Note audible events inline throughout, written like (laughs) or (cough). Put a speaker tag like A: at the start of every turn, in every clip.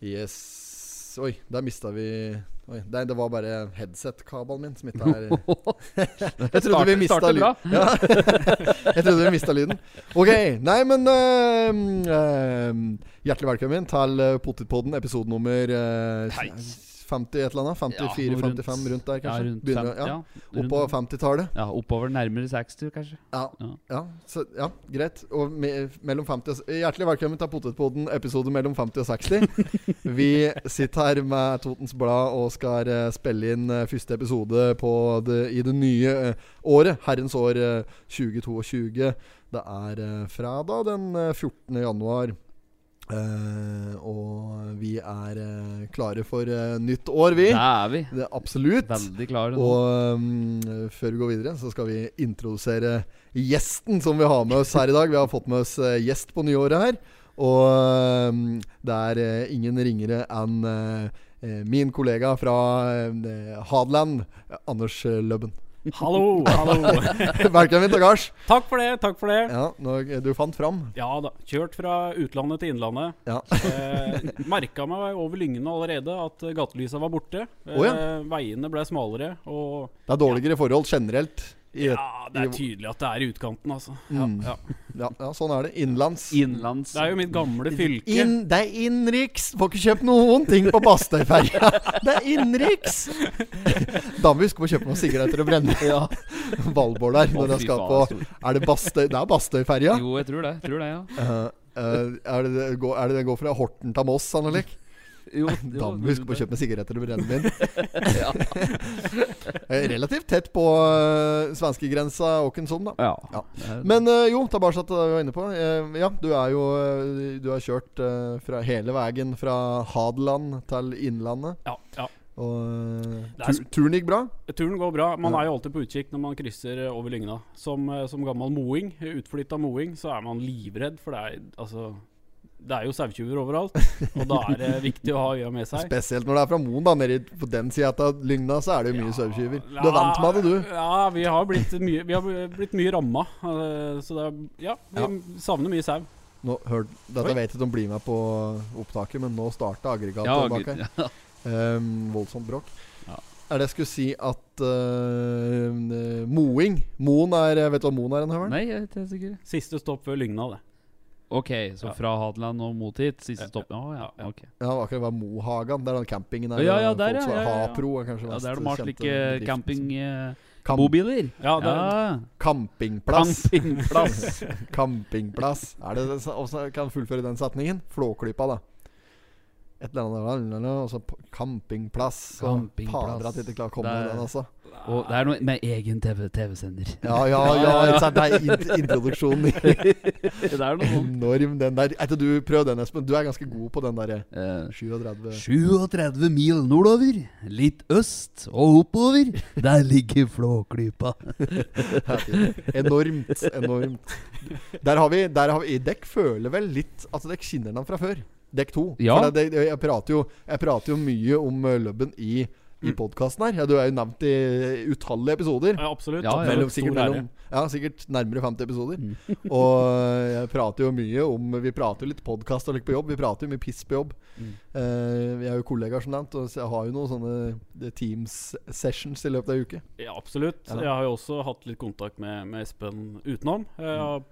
A: Yes Oi, der mista vi Oi, Nei, det var bare headset-kabelen min som ikke
B: (laughs)
A: (laughs) er Jeg trodde vi
B: Starter-
A: mista
B: starter bra.
A: lyden. Ja. (laughs) Jeg trodde vi mista lyden. Ok. Nei, men øhm, øhm, Hjertelig velkommen til øh, Potetpodden, episode nummer øh,
B: Hei.
A: 50 et eller annet. 54-55,
B: Ja, noe rundt.
A: rundt. der,
B: Ja,
A: kanskje.
B: rundt
A: Begynner,
B: fem-
A: ja.
B: rundt
A: Oppå
B: fem.
A: 50-tallet.
B: Ja, oppover nærmere 60, kanskje.
A: Ja.
B: Ja.
A: Ja, så, ja, greit. Og me, mellom 50 og Hjertelig velkommen til Potetpodden, episode mellom 50 og 60.
B: (laughs)
A: Vi sitter her med Totens Blad og skal eh, spille inn eh, første episode på det, i det nye eh, året. Herrens år eh, 2022. Det er eh, fredag den eh, 14. januar. Eh, og vi er eh, klare for eh, nytt år, vi.
B: Der er vi.
A: Det er absolutt.
B: Veldig klare nå.
A: Og um, før vi går videre, så skal vi introdusere gjesten som vi har med oss her i dag. Vi har fått med oss eh, gjest på nyåret her. Og um, det er eh, ingen ringere enn eh, eh, min kollega fra eh, Hadeland, eh, Anders eh, Løbben. (laughs)
C: Hallo, hallo.
A: Velkommen til gards.
C: (laughs) Takk for det, takk for det.
A: Ja, nå, du fant fram.
C: Ja da, kjørt fra utlandet til innlandet.
A: Ja.
C: Eh, Merka meg over Lyngene allerede at eh, gatelysa var borte. Eh,
A: Å
C: Veiene ble smalere. Og
A: Det er dårligere forhold generelt. I, ja.
C: ja, det er tydelig at det er i utkanten, altså.
A: Mm.
C: Ja, ja.
A: Ja, sånn er det. Innenlands.
B: Innlands
C: Det er jo mitt gamle fylke.
A: Inn, det er innenriks! Får ikke kjøpt noen ting på Bastøyferja. (laughs) Det er innenriks! (laughs) Da må vi huske på å kjøpe noen sigaretter og brenne (laughs) ja. valbår der. Når jeg skal på Er det Bastøy? Det er Bastøyferja.
B: Jo, jeg tror det. Tror
A: (laughs)
B: det, ja.
A: Eh, eh, er det det går- er det den går fra Horten til Moss, sannelig?
B: Jo,
A: Da må vi huske på å kjøpe noen sigaretter og brennevin.
B: (laughs) ja.
A: (laughs) Eh, Relativt tett på uh, svenskegrensa åken som, da.
B: ja.
A: Ja.
B: Det er-
A: Men eh, jo, tilbake til det du var inne på. Eh, ja, du er jo eh, Du har kjørt eh, fra hele veien fra Hadeland til Innlandet.
C: Ja, ja.
A: Og eh,
C: Det er
A: tur, turen gikk bra?
C: Turen går bra. Man
A: Ja.
C: er jo alltid på utkikk når man krysser eh, over Lygna. Som, eh, som gammel moing, utflytta moing, så er man livredd, for det er altså Det er jo sauetjuver overalt, og da er det viktig å ha øya med seg.
A: Spesielt når det er fra Moen, da. Nede i- på den sida av Lygna så er det jo mye sauekyver. Du er vant med det, du.
C: Ja, vi har blitt mye, vi har blitt mye ramma. eh, Så det er, ja, vi savner mye sau.
A: Nå, hør, dette
B: Oi.
A: vet jeg ikke om blir med på opptaket, men nå starta aggregatet
B: ja,
A: bak
B: gud,
A: her.
B: ja.
A: (laughs) Ehm, voldsomt bråk.
B: Ja.
A: Er det jeg skulle si at ehm, eh, Moing Moen er Vet du hva Moen er, en høvel?
B: Nei, jeg er ikke helt sikker.
C: Siste stopp før Lygna, det.
B: Ok,
C: Ja.
B: så fra Hadeland og mot hit. Siste
C: Ja,
B: stopp. Å, ja,
C: ja.
B: ok.
A: Ja, det var akkurat det var Mohagan. Det er den campingen der.
B: Ja, ja,
A: og
B: der,
A: folk
B: ja,
A: som er
B: ja, ja, ja.
A: Hapro er kanskje
B: Ja,
A: mest
B: der de har
A: kjente bedriften.
B: slike
A: liksom.
B: campingbobiler.
A: Kamp-
C: Ja, det er,
B: eh, ja.
A: Campingplass. (laughs)
B: Campingplass.
A: Campingplass. Er det det, som- også kan fullføre den setningen? Flåklypa, da. Et eller annet, eller annet, og så altså p- campingplass. Og
B: Campingplass.
A: Fader at jeg ikke klarer å komme
B: Det
A: med
B: er-
A: den, altså.
B: Og det er noe med egen TV
A: (laughs)
B: TV-sender. (laughs)
A: Ja, ja,
B: Ja,
A: ja.
B: ja, ja.
A: ikke sant? Det er
B: (laughs)
A: int- introduksjonen.
B: Det er noe sånt.
A: Enorm, den der. Etter du prøv den, Espen. Du er ganske god på den derre
B: Eh,
A: 37
B: 37 mil nordover, litt øst og oppover, der ligger Flåklypa.
A: Enormt, enormt. Der har vi, der har vi Dekk føler vel litt at dere kjenner den fra før. Dekk to.
B: Ja.
A: For det, det, jeg, prater jo, jeg prater jo mye om eh, Lubben i, i
B: Mm.
A: podkasten her. Ja, du er jo nevnt i utallige episoder.
C: ja, absolutt.
B: Ja, ja.
C: Absolutt.
A: Mellom, sikkert,
C: Stor ære.
A: mellom, ja, sikkert nærmere 50 episoder. Og eh, jeg prater jo mye om Vi prater jo litt podkast og litt på jobb. Vi prater jo mye piss på jobb.
B: Mm.
A: Eh, vi er jo kollegaer, som nevnt, og så jeg har jo noen sånne Teams-sessions i løpet av ei uke.
C: Ja, absolutt.
A: Ja da.
C: Jeg har jo også hatt litt kontakt med, med Espen utenom. Jeg har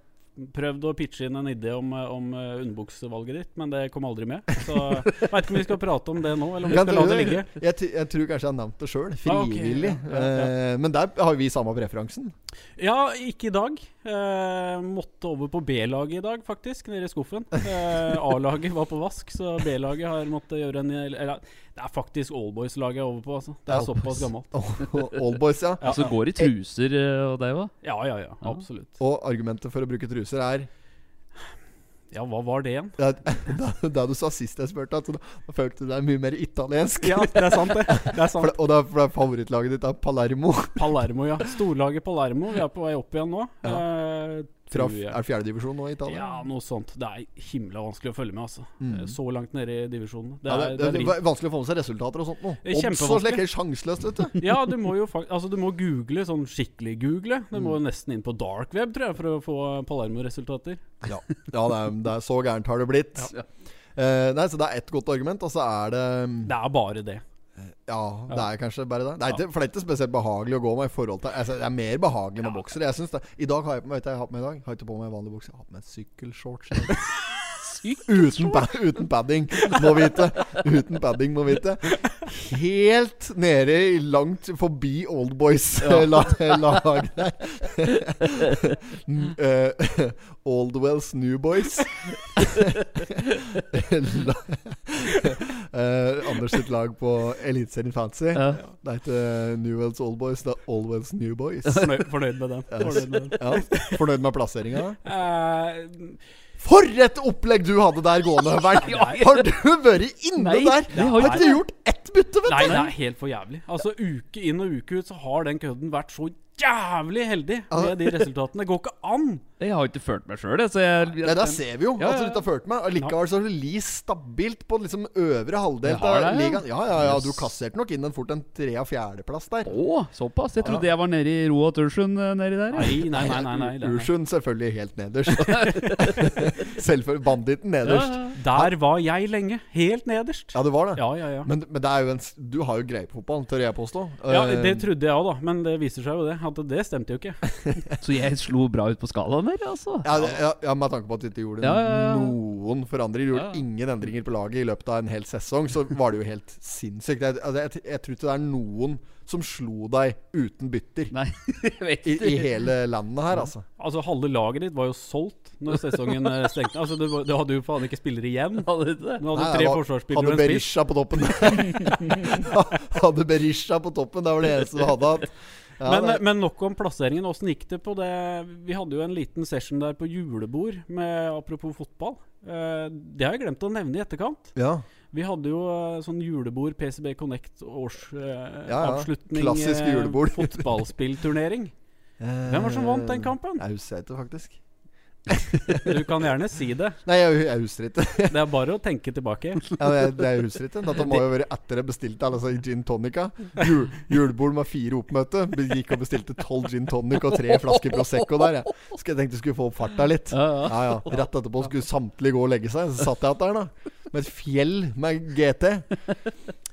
C: prøvd å pitche inn en idé om, eh, om eh, underbuksevalget ditt, men det kom aldri med. Så (laughs) jeg veit ikke om vi skal prate om det nå, eller om vi
A: Kan
C: skal la
A: du-
C: det ligge.
A: Jeg, t- jeg tror kanskje jeg har nevnt det sjøl.
C: Ah, ok,
A: Frivillig.
C: ja, ja,
A: Eh, Men der har vi samme preferansen.
C: Ja, ikke i dag. Eh, måtte over på B-laget i dag, faktisk. Nede i skuffen. Eh, A-laget var på vask, så B-laget har måttet gjøre en Eller det er faktisk Allboys-laget jeg er over på, altså. Det
A: Ja,
C: er såpass
A: (laughs)
C: gammelt.
A: Oldboys, ja.
C: Ja,
B: Altså går i truser eh, og det òg?
C: ja, ja, ja. Absolutt.
A: Og argumentet for å bruke truser er
C: Ja, hva var det igjen?
A: det, (laughs) det, det du sa sist jeg spurte, at da da følte du deg mye mer italiensk.
C: Ja, det er
A: (laughs)
C: sant, det. Det er
A: For
C: sant.
A: det, og det er, for det er favorittlaget ditt er Palermo.
C: Palermo, ja. Storlaget Palermo. Vi er på vei opp igjen nå. Eh,
A: Fra,
C: tror
A: f-
C: jeg.
A: er det fjerdedivisjon nå i Italia?
C: ja, noe sånt. Det er himla vanskelig å følge med, altså.
A: Mm.
C: Eh, Så langt nede i divisjonene. Det
A: Ja,
C: er, det er drit.
A: va- vanskelig å få med seg resultater og sånt nå.
C: Det er
A: Obs og
C: kjempevanskelig.
A: slik er sjanseløst, vet
C: (laughs)
A: du.
C: Ja, du må jo fak- altså, du må google, sånn skikkelig google. Du må nesten inn på dark web, tror jeg, for å få Palermo-resultater.
A: Ja, ja det, er, det er så gærent har det blitt. Eh, nei, så det er ett godt argument, og så er det mm,
C: Det er bare det.
A: Ja, det
C: Ja.
A: er kanskje bare det. Det er
C: Ja.
A: ikke, for det er ikke spesielt behagelig å gå med i forhold til altså, Det er mer behagelig med
C: Ja.
A: boksere. Jeg synes det. I dag har jeg på meg, vet du, hva jeg har på meg i dag. Jeg har ikke på meg vanlig bukse. Jeg har på meg
C: (laughs)
A: sykkelshorts. i dag.
C: Sykt.
A: Uten, pa uten padding, må vite. Uten padding, må vite. Helt nede i langt forbi Old Boys (laughs) la, lag der. N- eh, Oldwells New
C: (laughs)
A: Boys. (laughs) la, eh, Anders sitt lag på Eliteserien Fantasy.
B: Ja.
A: Det er ikke Newells Old Boys, det er Oldwells New Boys.
B: (laughs)
C: Fornøyd, fornøyd med den. Fornøyd med den.
A: Ja. Fornøyd med plasseringa?
C: Eh,
A: For et opplegg du hadde der gående, Bernt!
C: Nei.
A: Har du vært inne
B: Nei,
A: der?
B: det har
A: Har
B: ikke
A: ikke gjort ett bytte, vet du!
C: nei, det er helt for jævlig. Altså Uke inn og uke ut så har den kødden vært så jævlig heldig med de resultatene. Det går ikke an!
B: Jeg har ikke følt meg sjøl, jeg. Så jeg
A: Nei, Der ser vi jo Altså, at du
B: Ja, ja,
A: ikke har ført med. Og Likevel så har du li stabilt på liksom øvre halvdel
B: Jeg har
A: av
B: det, ja.
A: ligaen. Ja, ja, ja, du kasserte nok inn en fort en tre- og fjerdeplass der.
B: Å, såpass? Jeg trodde jeg var nede i Roa Tørsund eh, nedi der.
C: Nei,
B: jeg.
C: nei, nei. nei, nei, nei, nei.
A: Ursund selvfølgelig helt nederst. (laughs) Selvfølgelig banditten nederst.
B: Ja,
C: Der var jeg lenge. Helt nederst.
A: Ja, det var det.
C: Ja, ja, ja.
A: Men, men det er jo en, s- du har jo greie på fotballen, tør jeg påstå.
C: Ja,
A: Eh,
C: Det trodde jeg òg, da. Men det viser seg jo det. At det stemte jo ikke.
B: ja. Så jeg slo bra ut på skalaen der, altså.
A: Ja, det, ja, ja, med tanke på at du ikke gjorde
B: Ja, ja, ja.
A: noen forandringer. Du gjorde
B: Ja, ja.
A: ingen endringer på laget i løpet av en hel sesong, så var det jo helt sinnssykt. Jeg, altså, jeg, jeg tror ikke det er noen som slo deg uten bytter
B: Nei, (laughs) jeg vet
A: i, i
B: ikke.
A: hele landet her, altså.
C: Altså Halve laget ditt var jo solgt når sesongen eh, stengte. Altså Du, var- du hadde jo faen ikke spillere igjen.
B: Ja, det er det.
C: Du (laughs) hadde
A: Nei,
C: tre
A: det var-
C: forsvarsspillere
A: Hadde
C: og en spiss.
A: Berisha på
C: (laughs)
A: toppen. hadde Berisha på toppen, det var det eneste du hadde hatt. Ja,
C: Men, eh,
A: det-
C: men nok om plasseringen. Åssen gikk det på det Vi hadde jo en liten session der på julebord, med, apropos fotball. Eh, Det har jeg glemt å nevne i etterkant.
A: ja.
C: Vi hadde jo eh, sånn julebord, PCB Connect eh, årsavslutning.
A: Ja, ja. Klassisk julebord. (laughs)
C: eh, Fotballspillturnering. Hvem var det som vant
A: (laughs)
C: den kampen?
A: Jeg husker ikke, faktisk.
C: Du kan gjerne si det.
A: Nei, jeg, jeg husker ikke.
C: Det er bare å tenke tilbake.
A: Ja, det, det er husker ikke. Dette må jo være etter jeg bestilte altså, i gin tonica. Jul, julebord med fire oppmøte. Be- Gikk og bestilte tolv gin tonic og tre flasker Prosecco der. Jeg. Skal jeg tenkte jeg skulle få opp farta litt.
B: Ja, ja.
A: Ja, ja. (laughs) Rett etterpå skulle samtlige gå og legge seg. Så satt jeg der, da. Med et fjell med GT.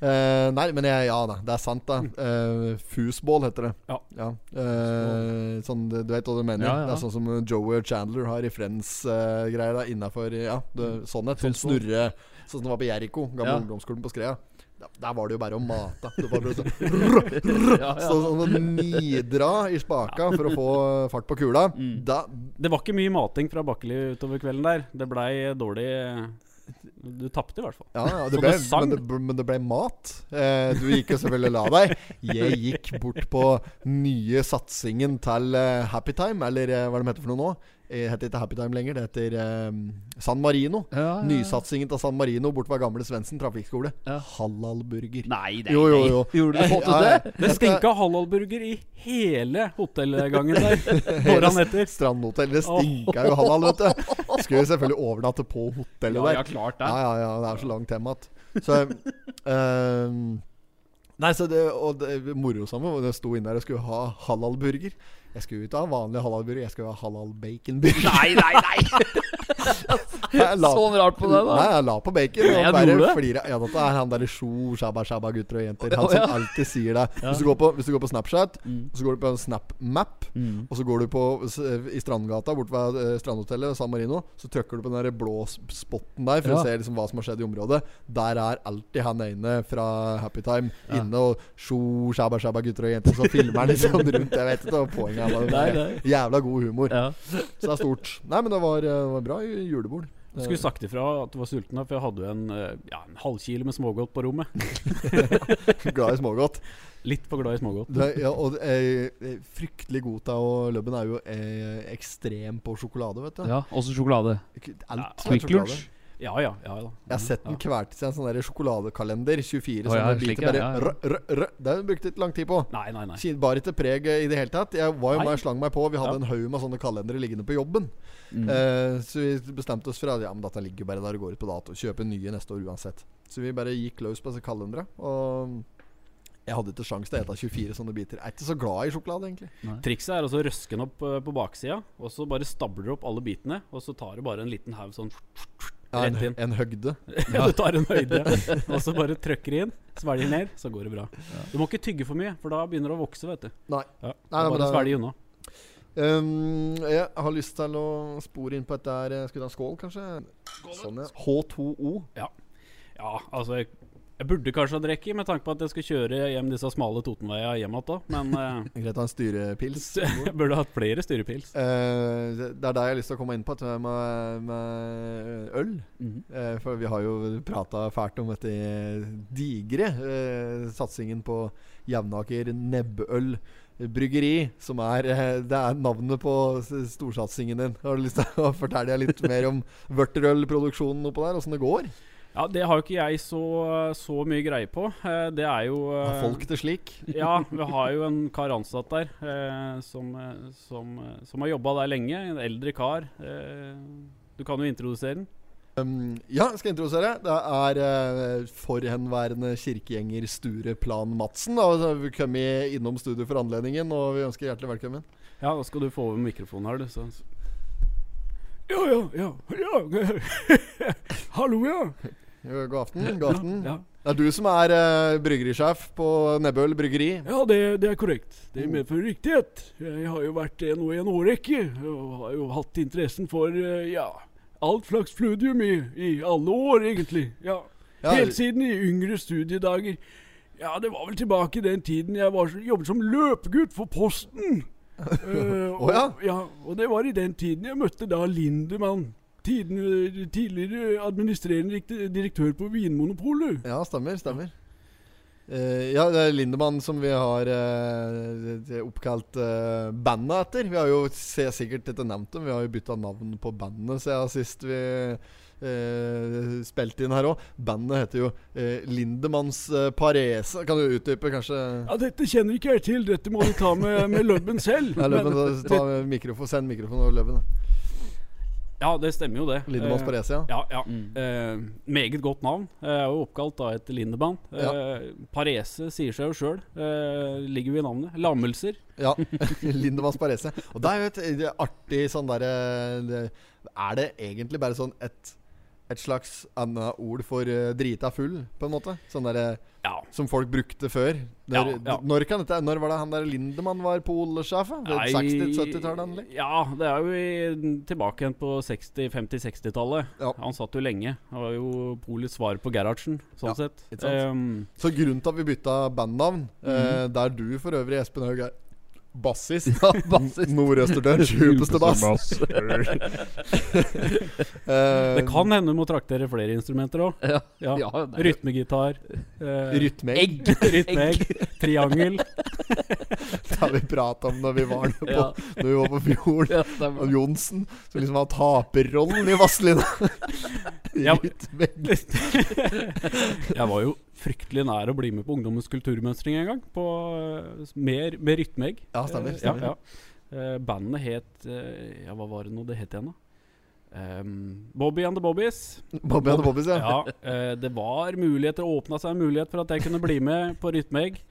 A: Eh, nei, men jeg, ja da. Det er sant, da. Eh, Foosball heter det.
C: Ja.
A: Eh, sånn, du vet hva du mener.
B: Ja, ja.
A: Det er sånn som Joey og Chandler har i Friends-greier. da Innafor ja, det- sånn et. Sånn
B: Foosball.
A: snurre Sånn som det var på Jericho, gamle
B: Ja.
A: ungdomsskolen på Skrea. Da- Der var det jo bare å mate. Det var
B: (laughs)
A: bare sånn, rrr, rrr,
B: Ja, ja.
A: sånn, sånn å nidra i spaka for å få eh, fart på kula.
B: Mm.
A: Da,
C: Det var ikke mye mating fra Bakkeli utover kvelden der. Det blei dårlig Du tapte i hvert fall.
A: Ja, ja det
C: Så
A: ble,
C: det sang?
A: men, det, ble- men det ble mat. Eh, du gikk jo selvfølgelig og la deg. Jeg gikk bort på nye satsingen til eh, Happy Time, eller eh, hva de heter for noe nå. Det heter ikke Happy Time lenger, det heter eh, San Marino.
B: Ja, Ah, ja.
A: Nysatsingen til San Marino bort ved gamle Svendsen trafikkskole.
B: Ja.
A: Halalburger.
B: Nei, nei,
A: Jo, jo, jo.
B: nei. Gjorde du fått
A: Ja, ja.
B: det?
C: Det stinka halalburger i hele
A: (laughs)
C: hotellgangen der. Årene etter.
A: Strandhotell. Det stinka jo halal, vet du. Skulle jo selvfølgelig overnatte på hotellet
B: Ja,
A: der.
B: ja, klart det.
A: Ja, ja, ja. Det er så langt hjem at Så (laughs) ehm, Nei, så det Og det moro sammen var det jeg sto inne der og skulle ha halalburger. Jeg skulle jo ikke ha vanlig halalburger, jeg skulle ha halal
B: (laughs)
A: baconburger.
B: Nei, nei, nei!
A: Jeg (laughs) la-
B: Sånn rart på deg, da.
A: Nei, jeg la på bacon.
B: Nei,
A: Og
B: jeg
A: bare
B: gjorde det.
A: flira. Ja, dette er han derre sjo, shabba, shabba, gutter og jenter. Han
B: Å, (laughs) ja.
A: som alltid sier det.
B: Ja.
A: Hvis du går på, hvis du går på Snapchat,
B: Mm.
A: så går du på en SnapMap.
B: Mm.
A: Og så går du på, s- i Strandgata, bort ved eh, Strandhotellet San Marino. Så trykker du på den der blå s- spotten der for å
B: Ja.
A: se liksom hva som har skjedd i området. Der er alltid han ene fra Happy Time
B: Ja.
A: inne og sjo, shabba, shabba, gutter og jenter. Så filmer han
B: (laughs)
A: liksom rundt. Jeg vet ikke hva poenget er.
B: Nei,
A: men det
B: nei.
A: er Jævla god humor.
B: Ja.
A: Så det er stort. Nei, men det var, eh, var bra ju- julebord.
C: Jeg skulle sagt ifra at du var sulten, da, for jeg hadde jo en, eh, ja, en halvkilo med smågodt på rommet.
A: Eh, Glad i smågodt.
C: Litt for glad i smågodt.
A: Du er- ja, og eh, fryktelig god til å Løbben er jo eh, ekstrem på sjokolade, vet du.
B: ja. Også sjokolade.
A: Alt er
B: Quick
A: sjokolade.
B: Lunch.
C: Ja ja. ja da.
A: Jeg har sett den kvelt seg en sånn der sjokoladekalender. 24
B: Å, ja,
A: sånne
B: slik,
A: biter.
B: ja,
A: Bare
B: ja, ja.
A: rød, rød, rød. Det brukte jeg ikke lang tid på.
C: Nei, nei, nei.
A: Ki- Bar ikke preg eh, i det hele tatt. Jeg var jo
C: Nei.
A: med og slang meg på. Vi hadde
C: Ja.
A: en haug med sånne kalendere liggende på jobben.
B: Mm.
A: Eh, så vi bestemte oss for at ja, men dette ligger jo bare der og går ut på dato. Kjøpe nye neste år uansett. Så vi bare gikk løs på disse kalendere. Og jeg hadde ikke sjans til å ete 24 sånne biter. Jeg er ikke så glad i sjokolade, egentlig.
C: Trikset er også å røske den opp eh, på baksida, og så bare stabler du opp alle bitene, og så tar du bare en liten haug sånn
A: Ja, en,
C: Rett inn.
A: en høgde.
C: (laughs) Ja. du tar en høyde, og så bare trøkker inn, svelger ned, så går det bra. Du må ikke tygge for mye, for da begynner det å vokse, vet du.
A: Nei.
C: Ja.
A: Nei, men
C: bare
A: da-
C: svelg unna.
A: Um, jeg har lyst til å spore inn på et der eh, Skal vi ta en skål, kanskje? Sånn, ja. H2O.
C: Ja, altså jeg, jeg burde kanskje ha drukket, med tanke på at jeg skal kjøre hjem disse smale Totenveia hjem igjen da,
A: (laughs)
C: men eh,
A: Greit å ha en styrepils.
C: jeg burde hatt flere styrepils.
A: Eh, det det er der jeg har lyst til å komme inn på, at det er med, med øl. Eh, for vi har jo prata fælt om dette digre eh, satsingen på Jevnaker Nebbøl Bryggeri, som er eh, Det er navnet på s- storsatsingen din. Har du lyst til å fortelle deg litt mer om vørterølproduksjonen oppå der, åssen det går?
C: Ja, det har jo ikke jeg så, så mye greie på. Eh, Det er jo
A: Har
C: eh,
A: folk (laughs) det slik?
C: ja, vi har jo en kar ansatt der eh, som, eh, som, eh, som har jobba der lenge. En eldre kar. Eh, du kan jo introdusere den.
A: Um, ja, skal jeg introdusere. Det er eh, forhenværende kirkegjenger Sture Plan Madsen. Da. Så har vi kommet innom studio for anledningen, og vi ønsker hjertelig velkommen.
C: Ja, da skal du få over mikrofonen her, du. Så. Ja, ja, ja. ja. (laughs) Hallo, ja.
A: Jo, God aften. God aften.
C: Ja,
A: Det er du som er eh, bryggerisjef på Nebbøl bryggeri.
C: ja det, det er korrekt. Det medfører riktighet. Jeg har jo vært det nå i en årrekke, og har jo hatt interessen for eh, ja, alt slags fludium i, i alle år, egentlig. Ja.
A: Ja,
C: Helt siden i yngre studiedager. Ja, det var vel tilbake i den tiden jeg var, jobbet som løpegutt for
A: (laughs)
C: Posten. Eh, og,
A: Å ja.
C: Og det var i den tiden jeg møtte da Lindemann. Tiden, eh, tidligere administrerende direkt- direktør på Vinmonopolet.
A: ja stemmer. stemmer Eh, ja, det er Lindemann som vi har eh, det- det er oppkalt eh, bandet etter. Vi har jo ser sikkert dette nevnt om, vi har jo bytta navn på bandet siden sist vi eh, spilte inn her òg. Bandet heter jo eh, Lindemanns eh, Parese. Kan du utdype, kanskje?
C: Ja, dette kjenner ikke jeg til. Dette må du ta med, med Løbben selv.
A: Nei, Løven,
C: Men-
A: ta mikrofon, send mikrofonen over Løven. da.
C: ja, det stemmer jo det.
A: Lindemanns
C: Eh,
A: Parese, ja.
C: Ja, ja.
B: Mm.
C: Eh, meget godt navn. Eh, Jeg er jo oppkalt da etter Lindemann. Eh, Parese sier seg jo sjøl. Eh, ligger jo i navnet. Lammelser.
A: Ja, (laughs) Lindemanns Parese. Og det er jo et det er artig sånn derre det- Er det egentlig bare sånn et et slags annet ord for eh, drita full, på en måte? Sånn derre
C: Ja.
A: som folk brukte før. Når,
C: Ja, ja.
A: d- når, kan dette, når var det han der Lindemann var polsjef? da? Det er
C: Nei,
A: 60-, 70-tallet? eller?
C: Ja, det er jo i, tilbake igjen på 60-, 50-60-tallet.
A: Ja.
C: Han satt jo lenge. Han var jo Polets svar på Gerhardsen, sånn
A: Ja,
C: sett.
A: ikke sant?
C: Ehm,
A: Så grunnen til at vi bytta bandnavn, eh,
C: Mm.
A: der du for øvrig, Espen Haug, er bassist
C: (laughs)
B: Ja, (laughs) bassist.
A: Nordøsterdørs djupeste bass.
B: (laughs)
A: Eh,
C: det kan hende du må traktere flere instrumenter òg.
B: Ja.
C: Ja.
B: Ja, nei.
C: Rytmegitar. eh,
A: Rytmeegg
B: Egg.
A: (laughs)
C: Rytmeegg. Triangel.
A: det har vi prata om når vi
C: (laughs)
A: var på,
B: Ja,
A: når vi var på fjorden.
B: ja, stemmer.
A: av Johnsen, som liksom har taperrollen i Vazelina.
C: Ja.
A: Rytmegg.
C: jeg var jo fryktelig nær å bli med på Ungdommens kulturmønstring en gang. På, eh, med, med rytmeegg.
A: Ja, stemmer,
C: Eh,
A: stemmer.
C: Ja, ja. Eh, bandet het eh, Ja, hva var det nå det het igjen, da? Ehm, Bobby and the Bobbies.
A: Bobby hadde Bobbys, ja.
C: Ja, eh, det var muligheter, åpna seg en mulighet for at jeg kunne bli med på rytmeegg.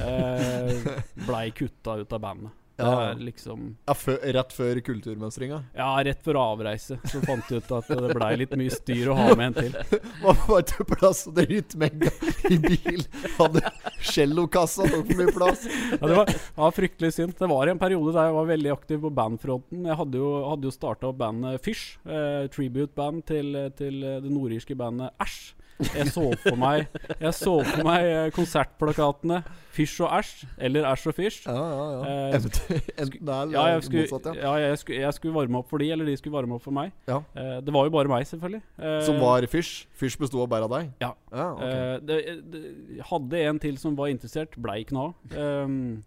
C: Uh, Blei kutta ut av bandet. Det
A: Ja.
C: er liksom
A: ja før, rett før kulturmønstringa.
C: Ja, rett før avreise så fant jeg ut at det blei litt mye styr å ha med en til.
A: Var var til plass til rytmegga i bil. Hadde cellokassa tok for mye plass.
C: Ja, det var, det var fryktelig synd. Det var en periode der jeg var veldig aktiv på bandfronten. Jeg hadde jo, hadde jo starta opp bandet Fish, eh, tribute-band til, til eh, det nordirske bandet Æsj. Jeg så for meg, jeg så for meg eh, konsertplakatene Fish og Æsj, eller Æsj og Fish.
A: Ja, ja, ja.
C: Eh,
A: Eventuelt- Enten det er
C: Ja, jeg skulle,
A: motsatt, ja.
C: ja, jeg, skulle, jeg skulle varme opp for de, eller de skulle varme opp for meg.
A: Ja.
C: Eh, det var jo bare meg, selvfølgelig. Eh,
A: Som var Fysj. Fysj besto av bare av deg?
C: Ja.
A: ja ok.
C: eh, det, det, jeg hadde en til som var interessert, blei ikke noe av. Ehm,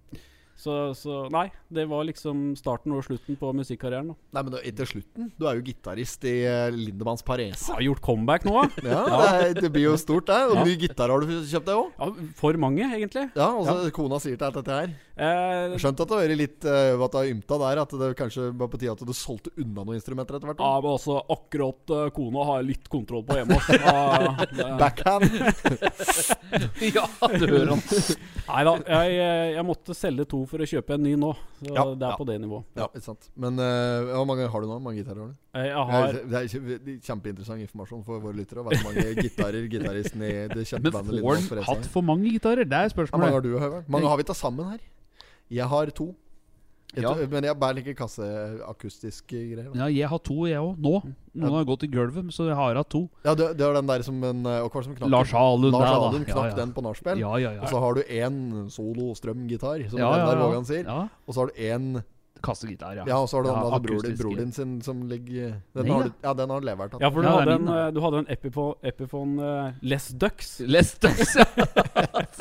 C: så, så nei, det var liksom starten og slutten på musikkarrieren. da.
A: Nei, men da, til slutten Du er jo gitarist i eh, Lindemanns Parese.
C: (laughs) Jeg har gjort comeback nå, (laughs) da.
A: Ja, Det, er- det blir jo stort, det. Og ny gitar har du kjøpt deg òg.
C: ja. For mange, egentlig.
A: Ja, og så kona sier til deg at dette her
C: Eh,
A: Skjønt at det har vært litt eh, at det har ymta der, at det kanskje var på tide at du solgte unna noen instrumenter etter hvert.
C: ja,
A: da.
C: men altså, akkurat eh, kona har jeg litt kontroll på hjemme. ass. Ja, (laughs) det-
A: Backhand!
B: (laughs) ja, du hører han.
C: Nei da, jeg, eh, jeg måtte selge to for å kjøpe en ny nå. Så
A: Ja,
C: det er
A: ja.
C: på det nivået.
A: Ja, ikke sant. Men eh, hvor mange har du nå? Hvor mange gitarer har du?
C: Eh, Jeg har
A: Det er kjempe- kjempeinteressant informasjon for våre lyttere. å vite Hvor mange gitarer gitaristen i det kjente
B: Men
A: bandet
B: får
A: Lindholm
B: han
A: Forelsa
B: hatt
A: har.
B: for mange gitarer? Det er
A: Hvor mange
B: spørsmålet.
A: har du, Høveren? Mange har vi tatt sammen her. Jeg har to. Jeg
B: Ja.
A: tror- Men jeg bærer ikke kasseakustiske eh, greier. da.
B: Ja, jeg har to, jeg òg. Nå. Noen har gått i gulvet, så jeg har hatt to.
A: Ja, det, det var den der som en eh, Og hva var det som knakk
B: Lars
A: den?
B: Halund
A: Lars
B: der, da.
A: Halund knakk
B: ja, ja.
A: den på nachspiel.
B: Ja, ja,
A: Og
B: ja.
A: så har du én solo-strømgitar, som
B: Ja, ja,
A: Ragnar
B: ja.
A: Vågan sier.
B: ja.
A: Og så har du én
B: Kassegitar, ja.
A: Ja, og så har du
B: Ja,
A: den der bror din,
B: akustiske.
A: bror din sin som ligger Den
B: Nei,
A: har
B: da.
A: du, ja, den har leveren tatt.
C: Ja, for du
B: Ja, det er
C: hadde en,
B: min, da.
C: eh, du hadde en Epiphone, Epiphone eh, Les Ducks.
A: (laughs)
B: Lestex, ja.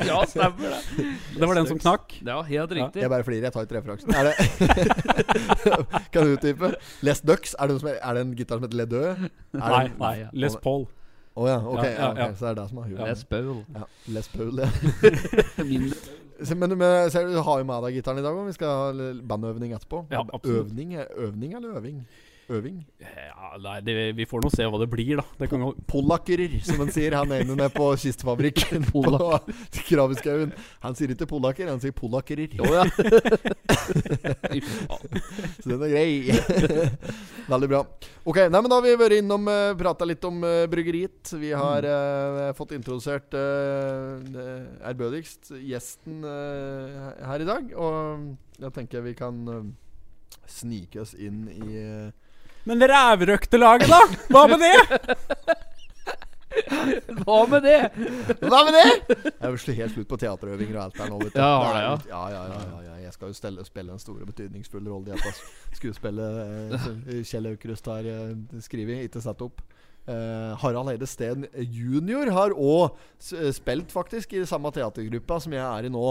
B: ja, stemmer det.
C: Det var den som knakk.
B: Ja, helt riktig.
A: Jeg bare flirer. Jeg tar ikke referansen. Er det (laughs) Kan du utdype? Les Ducks? Er det, noe som er, er det en gitar som heter Le Deux? Er det-
C: Nei,
B: nei,
C: nei,
B: ja.
C: Les Paul.
A: Å ja, ok.
C: Ja,
A: Ja,
C: ja, ja.
A: ok, Så det er det som er huet.
B: Les Paul.
A: Ja. Les Paul, ja.
B: Mindre.
A: Så, men men ser du, du har jo med deg gitaren i dag òg. Vi skal ha l- bandøvning etterpå.
C: Ja, absolutt.
A: øvning, er- øvning eller øving? Øving.
C: Ja, nei, det, vi får nå se hva det blir, da. Det kan gå
A: Polakkerer, som han sier. Han ene nede på kistefabrikken på Krabbeskaugen. Han sier ikke polakker, han sier polakkerer.
B: Å
A: (laughs)
B: ja. Fy faen.
A: Så den er grei. Veldig bra. Ok, nei, men Da har vi vært innom uh, prata litt om eh, bryggeriet. Vi har
B: Mm.
A: eh, fått introdusert eh, eh, ærbødigst gjesten eh, her i dag. Og jeg tenker vi kan eh, snike oss inn i eh,
C: Men rævrøktelaget, da? Hva med det?
B: Hva med det?
A: Hva med det?! Jeg er jo sl- helt slutt på teaterøvinger og alt der nå. Vet du.
B: Ja, har
A: Det er
B: det,
A: jo- ja, ja, ja, ja, ja. Jeg skal jo stelle, spille en stor og betydningsfull rolle i dette. altså. Skuespillet eh, Kjell Aukrust har eh, skrevet, ikke satt opp. Eh, Harald Eide Steen jr. har òg spilt, faktisk, i samme teatergruppa som jeg er i nå.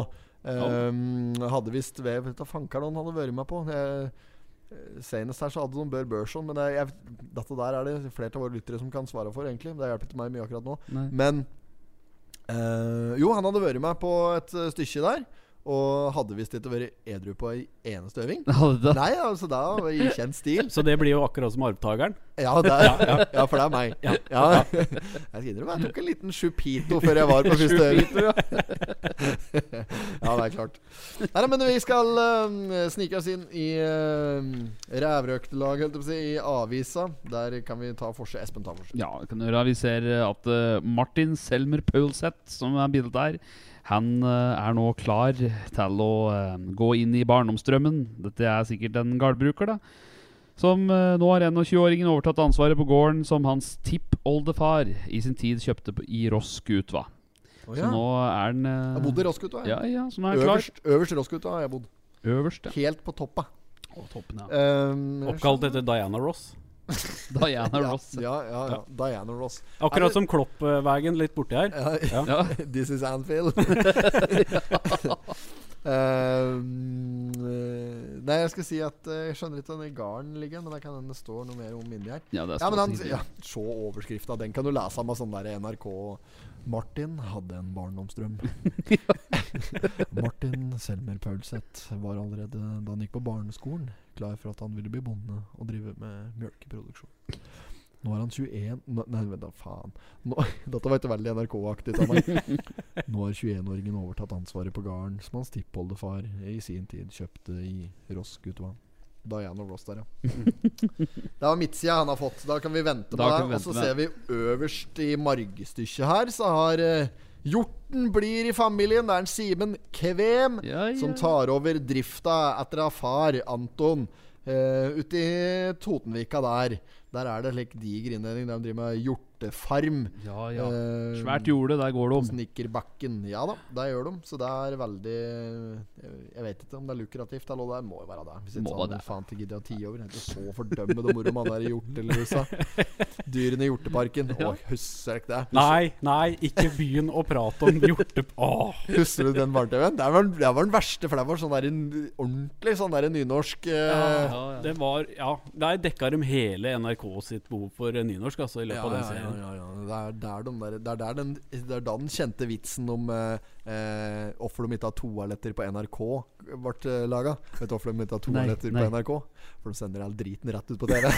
A: Um, hadde visst ved Vet du fankeren han hadde vært med på. Eh, Senest her så hadde de Bør Børson, men jeg, jeg, dette der er det flere av våre lyttere som kan svare for, egentlig. Det hjelper ikke meg mye akkurat nå.
B: Nei.
A: Men eh, Jo, han hadde vært med på et eh, stykke der. Og hadde visst ikke vært edru på ei eneste øving.
B: Hadde
A: Nei, altså da var det i kjent stil.
C: (laughs) Så det blir jo akkurat som arvtakeren.
A: Ja, det er, ja, for det er meg. Ja. Jeg skal innrømme jeg tok en liten chupito før jeg var på første øving. (laughs) Ja, det er klart. Nei, nei, men vi skal eh, snike oss inn i uh, rævrøktelaget, holdt jeg på å si, i avisa. Der kan vi ta forskjell. Espen tar forskjell.
B: Ja, vi kan høre. Vi ser at eh, Martin Selmer Paulseth, som er bildet der, han eh, er nå klar til å eh, gå inn i barndomsdrømmen. Dette er sikkert en gardbruker, da. Som eh, nå har 21-åringen overtatt ansvaret på gården som hans tippoldefar i sin tid kjøpte på- i Rossgutva.
A: Å,
B: Så
A: ja.
B: nå er han eh,
A: Jeg bodde i Rossgutta. jeg.
B: Ja, ja, så nå er han klar.
A: Øverst, øverst i Rossgutta har jeg bodd.
B: Øverst, ja.
A: Helt på toppa.
B: Å, toppen, (laughs) ja.
A: Um,
C: Oppkalt etter Diana Ross.
B: Diana
A: ja,
B: Ross.
A: ja, ja, ja.
C: Ja.
A: Diana Ross. Er
C: Akkurat
A: det-
C: som Kloppvegen litt borti her.
A: Ja. (laughs)
B: Ja.
A: This is Anfield. (laughs) um, eh, nei, jeg skal si at eh, jeg skjønner ikke hvor den garden ligger, men det kan hende det står noe mer om inni her.
B: Ja, det er
A: Ja, men han,
B: stort.
A: ja, Se overskrifta, den kan du lese om av sånn der NRK. Martin hadde en
B: (laughs)
A: barndomsdrøm. Martin Selmer Paulseth var allerede da han gikk på barneskolen, klar for at han ville bli bonde og drive med mjølkeproduksjon. Nå er han 21 Nå- Nei, vent da, faen. Nå, dette var ikke veldig NRK-aktig
B: (laughs)
A: av meg. Nå har 21-åringen overtatt ansvaret på gården som hans tippoldefar i sin tid kjøpte i Rossgutvann. Diana Ross
B: (laughs)
A: der, ja. Det var midtsida han har fått. Da kan vi vente
B: Da
A: på
B: kan
A: det.
B: vi
A: Og så
B: vente
A: ser vi øverst i margestykket her, så har eh, Hjorten blir i familien. Det er en Simen Kvem
B: Ja, ja.
A: som tar over drifta etter å ha far Anton eh, ute i Totenvika der. Der er det slik diger inndeling. De driver med hjortefarm.
B: ja, ja.
A: Eh,
B: Svært jorde, der går det om.
A: Snikkerbakken. Ja da, det gjør de. Så det er veldig Jeg vet ikke om det er lukrativt eller hva det er. Må jo være det. Hvis
B: Må
A: ikke
B: det.
A: sånn, faen til gidder jeg å tie over. Det er ikke så fordømmende moro man er i hjortelusa. Dyrene i hjorteparken. Å, husker jeg ikke det?
C: Nei, nei, ikke begynn å prate om hjorte... (laughs) Åh.
A: Husker du den barne-TV-en? Det var, det var den verste, for det var sånn der en- ordentlig sånn der en nynorsk eh,
B: Ja, ja.
C: Det var Ja, der dekka de hele NRK sitt behov for eh, nynorsk, altså, i løpet
A: Ja,
C: av den
A: ja, ja,
C: serien.
A: ja, ja. Det, er der de der, det, er der den, det er da den kjente vitsen om eh, eh, hvorfor de ikke har toaletter på NRK, ble laga. Vet du hvorfor de ikke har
B: Nei,
A: toaletter
B: nei.
A: på NRK? For de sender all driten rett ut på
B: (laughs)
A: TV.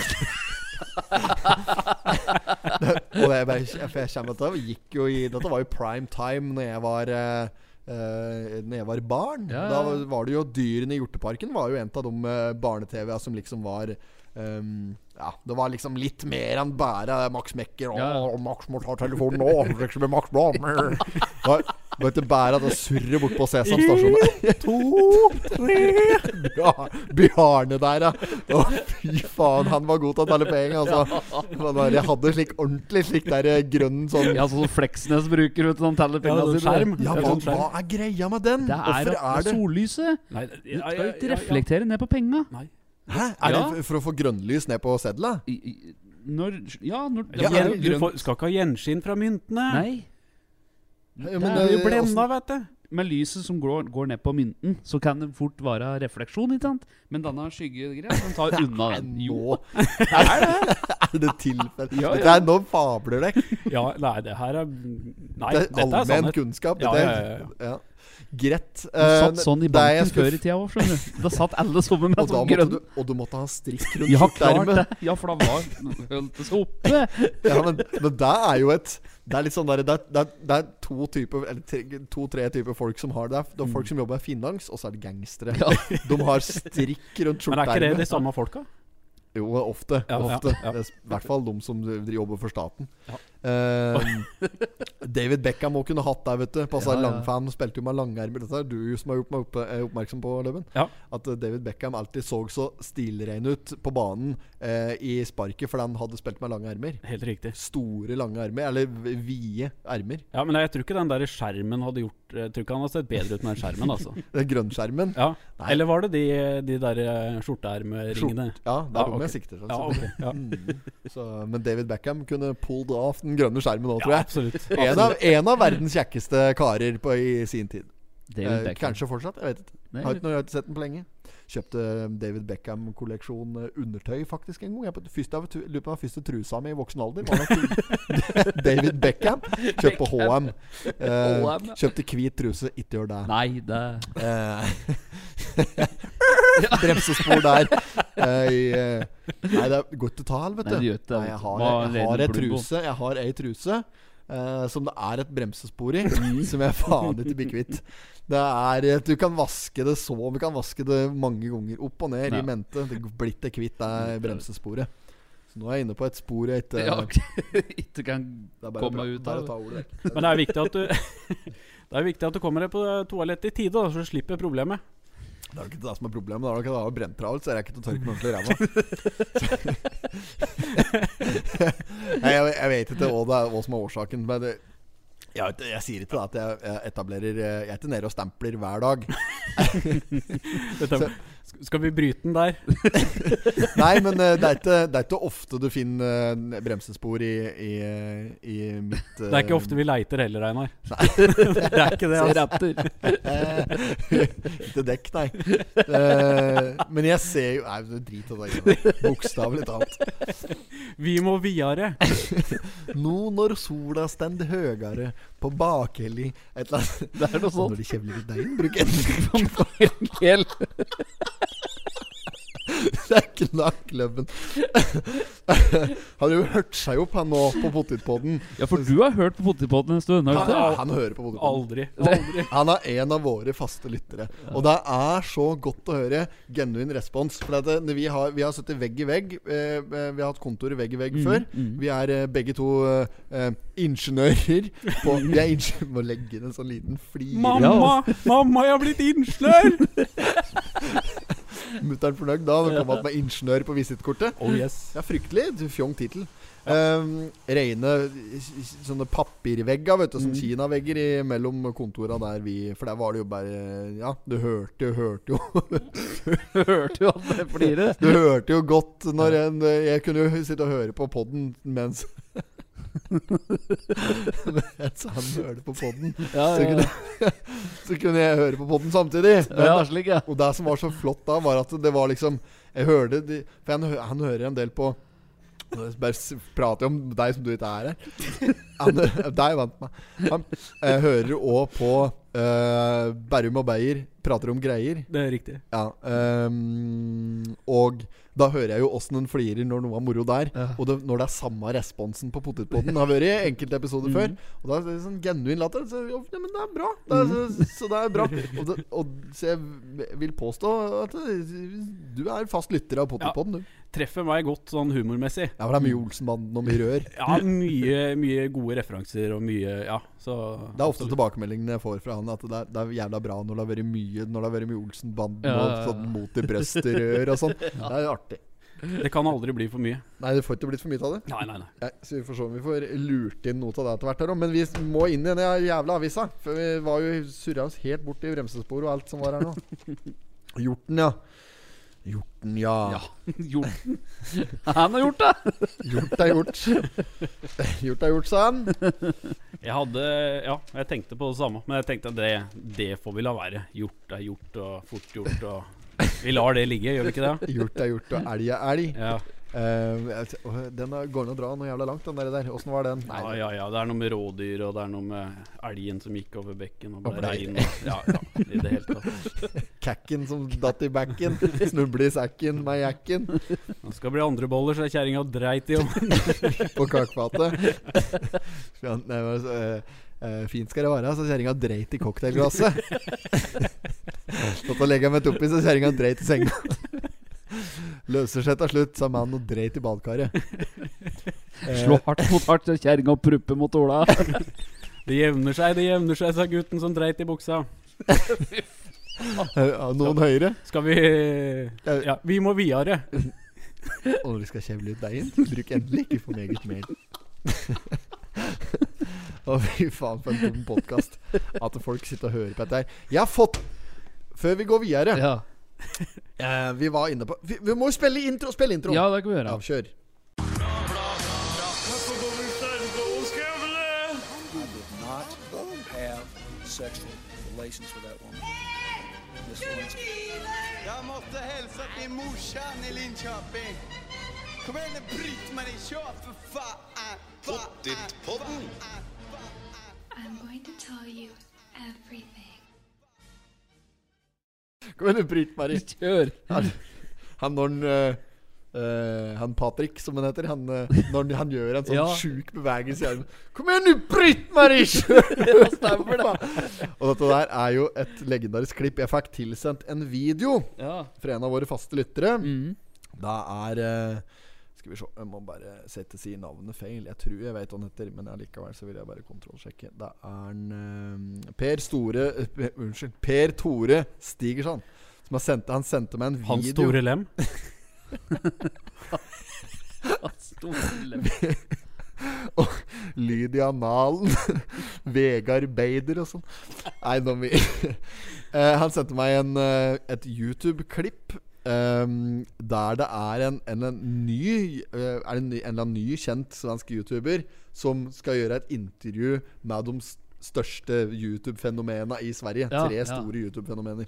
A: og det, er bare, for jeg kommer til, det gikk jo i, Dette var jo prime time Når jeg var eh, eh, Når jeg var barn
B: Ja, ja,
A: Da
B: ja.
A: var det jo dyrene i hjorteparken Var jo en av de eh, barne-tv Som liksom var ehm, Ja, det var liksom litt mer enn bare Max Mekker Åh,
B: Ja, ja.
A: Max må ta telefonen nå Liksom med Max
B: (laughs)
A: Blom Da var ikke bare at det surrer bort på Sesam stasjon
C: To,
A: (laughs)
C: tre
A: Bra- Bjarne der, ja. Å, fy faen, han var god til å telle penger, altså. Han bare hadde slik ordentlig slik der eh, grønn sånn
B: (laughs) Ja, sånn som Fleksnes bruker, vet du. sånn Han teller
C: Ja,
B: penga
C: det er skjerm.
A: Ja,
C: det er
A: hva,
C: sånn skjerm.
A: hva er greia med den?
B: Det er,
A: Hvorfor
B: at
A: er det
B: sollyset.
C: Nei,
B: Du skal ikke reflektere ned på penga.
C: Nei.
A: Hæ? Er det
B: Ja.
A: f- for å få grønnlys ned på sedla?
B: I- i- Når Ja, når
A: Ja,
B: det er
C: Gjen-
B: jo
C: du
B: grønt.
C: får, skal ikke ha gjenskinn fra myntene.
B: Nei.
A: Ja,
B: Det
A: men,
C: Du
B: er,
A: eh,
C: blir blenda, vet du.
B: med lyset som går, går ned på mynten, så kan det fort være refleksjon, ikke sant? Men denne skyggegreia, den
A: (laughs)
B: tar unna
A: Nei,
B: den. Jo.
A: (laughs) nå Er det Er det tilfelle?
B: Ja, ja.
A: Dette er nå fabler dere.
C: Ja, nei, det her er Nei,
A: Det
C: dette
A: er
C: er
A: allmenn
C: sannhet.
A: kunnskap.
C: Ja,
A: Dette er,
C: ja, ja,
A: ja. Greit.
B: Den satt
A: Eh,
B: sånn i
A: det er jeg
B: banken før i
A: skuff-
B: tida òg, skjønner du. Da satt alle sammen med
A: og, da
B: sånn
A: måtte du,
B: grønn
A: og du måtte ha strikk rundt
B: Ja, klart
A: skjorteermet.
B: det. Ja, for da var holdt det seg oppe.
A: Ja, men, men det er jo et Det er litt sånn der, det, er- det, er- det er to typer Eller tre- to-tre typer folk som har det. Det er folk som jobber med finans, og så er det gangstere.
B: Ja.
A: De har strikk rundt
C: Men er ikke det de
A: skjorteermet.
C: samme folka?
A: Jo, ofte.
C: Ja, ja,
A: ofte.
C: ja.
A: Det er I hvert fall de som jobber for staten.
C: Ja. (laughs)
A: Eh, David Beckham må kunne hatt deg, vet du. Passa
B: Ja, ja.
A: langfan, spilte jo med langermer. Dette er du som har gjort meg opp, eh, oppmerksom på, Løven.
C: Ja.
A: At eh, David Beckham alltid så så stilrein ut på banen eh, i sparket fordi han hadde spilt med lange ermer.
C: Helt riktig.
A: Store, lange ermer. Eller v- vide ermer.
C: Ja, men jeg tror ikke den der skjermen hadde gjort Jeg tror ikke han hadde sett bedre ut med den skjermen,
A: (laughs)
C: altså.
A: Det er Grønnskjermen.
C: Ja.
A: Nei.
C: Eller var det de, de der eh, skjorteermeringene?
A: Ja, det
C: Ja,
A: er dem
C: ok.
A: jeg sikter til.
C: Ja,
A: så- (laughs)
C: ok. Ja,
A: Mm. Så, men David Beckham kunne pulled off den grønne skjermen òg, tror
C: ja
A: jeg. (laughs)
C: absolutt.
A: En av, en av verdens kjekkeste karer på, i sin tid.
B: David
A: Eh,
B: Beckham.
A: Kanskje fortsatt. Jeg vet ikke.
B: Nei,
A: Har ikke, noe- jeg har ikke sett den på lenge. Kjøpte eh, David Beckham-kolleksjon eh, undertøy faktisk en gang. Jeg på, første, av tu- lurer på om den første trusa mi i voksen alder var nok (laughs) David Beckham. Kjøpt på HM. Eh,
B: HM, ja.
A: kjøpte hvit truse. Ikke gjør det.
B: Nei, det
A: Eh, (laughs) Bremsespor der. Eh, i, eh, nei, det er godt å ta, vet
B: Nei,
A: du.
B: det gjør ikke det,
A: Nei, jeg
B: vet du.
A: har,
B: eh, Hva
A: jeg har
B: leder
A: ei
B: Plumbo?
A: truse Jeg har ei truse eh, som det er et bremsespor i,
B: (laughs) Mm.
A: som jeg faen ikke blir kvitt. Det er eh, Du kan vaske det så Du kan vaske det mange ganger. Opp og ned,
B: Ja.
A: i mente. Det blir ikke kvitt det bremsesporet. Så nå er jeg inne på et spor jeg ikke
B: Ja, (laughs) ikke kan
A: eh, Det er bare å
B: komme
A: pra-
B: ut
A: bare å
B: av (laughs)
A: ta
B: det.
A: ordet.
C: Men det er viktig at du (laughs) Det er viktig at du kommer deg på toalettet i tide, da, så du slipper problemet.
A: Det er jo ikke det som er problemet. Det er jo ikke det å ha brent travelt, så jeg rekker ikke å tørke meg ordentlig i ræva.
C: (laughs)
A: Nei, jeg, jeg vet ikke hva, det er, hva som er årsaken. Men det, jeg, vet ikke- jeg sier ikke da at jeg, jeg etablerer eh, Jeg er ikke nede og stempler hver dag.
C: Dette,
A: Så-
C: Sk- skal vi bryte den der?
A: Nei, men eh, det er ikke, det er ikke ofte du finner eh, bremsespor i, i, i mitt
C: Det er ikke ofte vi leiter heller, Einar.
A: (laughs) Nei.
C: (laughs) Det er ikke det,
B: Ser
C: altså.
B: etter.
A: (laughs) Ikke eh, dekk, nei. Eh, men jeg ser jo Nei, det er drit i det. greiene. Bokstavelig talt.
C: Vi må videre.
A: Nå når sola stend høyere på bakhell i et eller annet
B: Det er noe
A: Så
B: sånt.
A: når de kjevler litt deig, bruk en
B: Hel.
A: knakkløven. Han har jo hørt seg opp, han nå, på potetpodden.
B: Ja, for du har hørt på Potetpotten en stund? har
A: Han,
B: du ikke det?
A: han hører på potetpodden.
C: Aldri. Aldri.
A: Han er en av våre faste lyttere. Og det er så godt å høre genuin respons. For at det, vi, har, vi har sittet vegg i vegg. eh, Vi har hatt kontoret vegg i vegg
B: Mm.
A: før. Vi er eh, begge to eh, eh, ingeniører. På,
B: (laughs)
A: vi er ingeniører Må legge inn en sånn liten flir.
C: Mamma! Mamma, jeg har blitt ingeniør!
A: (laughs) Mutter'n fornøyd da. Hun kom att med ingeniør på visittkortet.
C: Oh yes.
A: Ja, fryktelig du, fjong tittel. Ehm, Reine s- sånne papirvegger, vet du, som
B: Mm.
A: kinavegger i- mellom kontora der vi For der var det jo bare Ja, du hørte jo, hørte jo (laughs)
B: (laughs) Hørte jo at det blir det.
A: Du hørte jo godt når en eh, Jeg kunne jo sitte og høre på podden mens (laughs) Mens han hørte på podden,
B: Ja,
A: så kunne, så kunne jeg høre på podden samtidig. Men
B: ja, slik, ja.
A: Og det som var så flott da, var at det var liksom Jeg hørte de, For han, hø- han hører en del på Nå Bare s- prater jeg om deg som du ikke er her. Han, deg vant meg. Han eh, hører òg på eh, Berrum og Beyer prater om greier.
C: Det er riktig.
A: Ja, ehm, og da hører jeg jo åssen den flirer når noe er moro der. Og det, når det er samme responsen på potetpodden. Det har vært i enkelte episoder
B: Mm.
A: før. Og da er det sånn genuin latter. Så, jo, ja, men det er bra. Det er, så,
B: Mm.
A: så det er bra. Og det, og, så jeg vil påstå at det- du er fast lytter av potetpodden, du.
C: Treffer meg godt sånn humormessig.
A: Ja, for det er
B: Mm.
A: mye Olsenbanden og mye rør.
C: Ja, mye, mye gode referanser og mye Ja, så
A: Det er ofte tilbakemeldingene jeg får fra han, at det er, det er jævla bra når det har vært mye Når det har vært mye Olsenbanden
B: Ja,
A: og
B: ja, ja.
A: sånn mot i brøstet-rør og
B: (laughs)
A: sånn. Det er jo artig.
C: Det kan aldri bli for mye.
A: Nei, det får ikke blitt for mye av det.
C: Nei, nei, nei.
A: Nei, så vi får se om vi får lurt inn noe av det etter hvert. her også, Men vi må inn i den jævla avisa. For vi var jo surra oss helt bort i bremsesporet og alt som var her nå. Hjorten, ja. Hjorten, ja.
B: Ja. (laughs) Gjort. (laughs) Han har gjort det!
A: Hjort er hjort. (laughs) Hjort er hjort, sa han.
C: Jeg hadde Ja, jeg tenkte på det samme, men jeg tenkte at det, det får vi la være. Gjort er gjort, og fort gjort, og Vi lar det ligge, gjør vi ikke det?
A: Hjort er hjort, og elg er elg.
C: Ja,
A: Eh, jeg t- åh, den er- går an å dra noe jævla langt, den der. der. Åssen var den?
C: ja, ja, ja. Det er noe med rådyr, og det er noe med elgen som gikk over bekken og
A: Og
C: ble
A: blei.
C: rein. og- Ja, ja, i det hele tatt.
A: Kakken som datt i backen. Snuble i sekken med jakken
C: Nå skal det bli andre boller, så kjerringa dreit i om (laughs)
A: på kakefatet. (laughs) Så han- nei, men så, eh, eh, Fint skal det være, så kjerringa dreit i cocktailglasset.
B: (laughs)
A: Satt og legga meg oppi, så kjerringa dreit i senga. Løser seg til slutt, sa mannen og dreit i badkaret. Eh,
B: Slå hardt mot hardt, så kjerringa prupper mot
A: (laughs)
B: Ola.
C: Det jevner seg, det jevner seg, sa gutten som dreit i buksa.
A: eh, noen høyere.
C: Skal vi Ja, vi må videre.
A: Og når du skal kjevle ut deigen, bruk endelig ikke for meget mel. Å, fy faen, for en dum podkast. At folk sitter og hører på dette her. Jeg har fått Før vi går videre
B: Ja,
A: Eh, vi var inne på Vi, vi må jo spille intro! Spille intro!
B: ja det kan vi gjøre.
A: Ja, kjør.
D: not have sexual relations with that woman. Miss Lewinsky.
E: Jeg måtte hilse til morsan i Linköping. Kom igjen, Britt-Marie, kjør for faen! Pottit-podden!
F: I'm going to tell you everything.
A: Kom igjen,
B: (laughs)
A: Britt-Marie.
B: Kjør.
A: Han når han eh, eh, Han Patrick, som han heter, han, eh, når han, han gjør en sånn
B: Ja.
A: sjuk bevegelse i armen Kom igjen, nå, Britt-Marie!
B: (laughs)
A: kjør! Og dette der er jo et legendarisk klipp. Jeg fikk tilsendt en video
B: Ja.
A: fra en av våre faste lyttere.
B: Mm.
A: Det er eh, Skal vi se, jeg må bare sette si navnet feil. Jeg tror jeg vet hva han heter, men allikevel så vil jeg bare kontrollsjekke. Det er en, eh, Per Store eh, Pe- Unnskyld. Per Tore Stigersson. Som har sendt, han sendte meg en video.
C: Hans store
A: (laughs)
C: lem.
A: Lydia Nalen. (laughs) Vegard Beider og sånn. Nei, nå må vi (laughs) Eh, Han sendte meg en, eh, et YouTube-klipp. ehm, der det er en, en, en ny eh, Er det en, ny- en eller annen ny kjent svensk YouTuber som skal gjøre et intervju med de s- største YouTube-fenomena i Sverige.
B: Ja,
A: Tre
B: ja.
A: store YouTube-fenomener.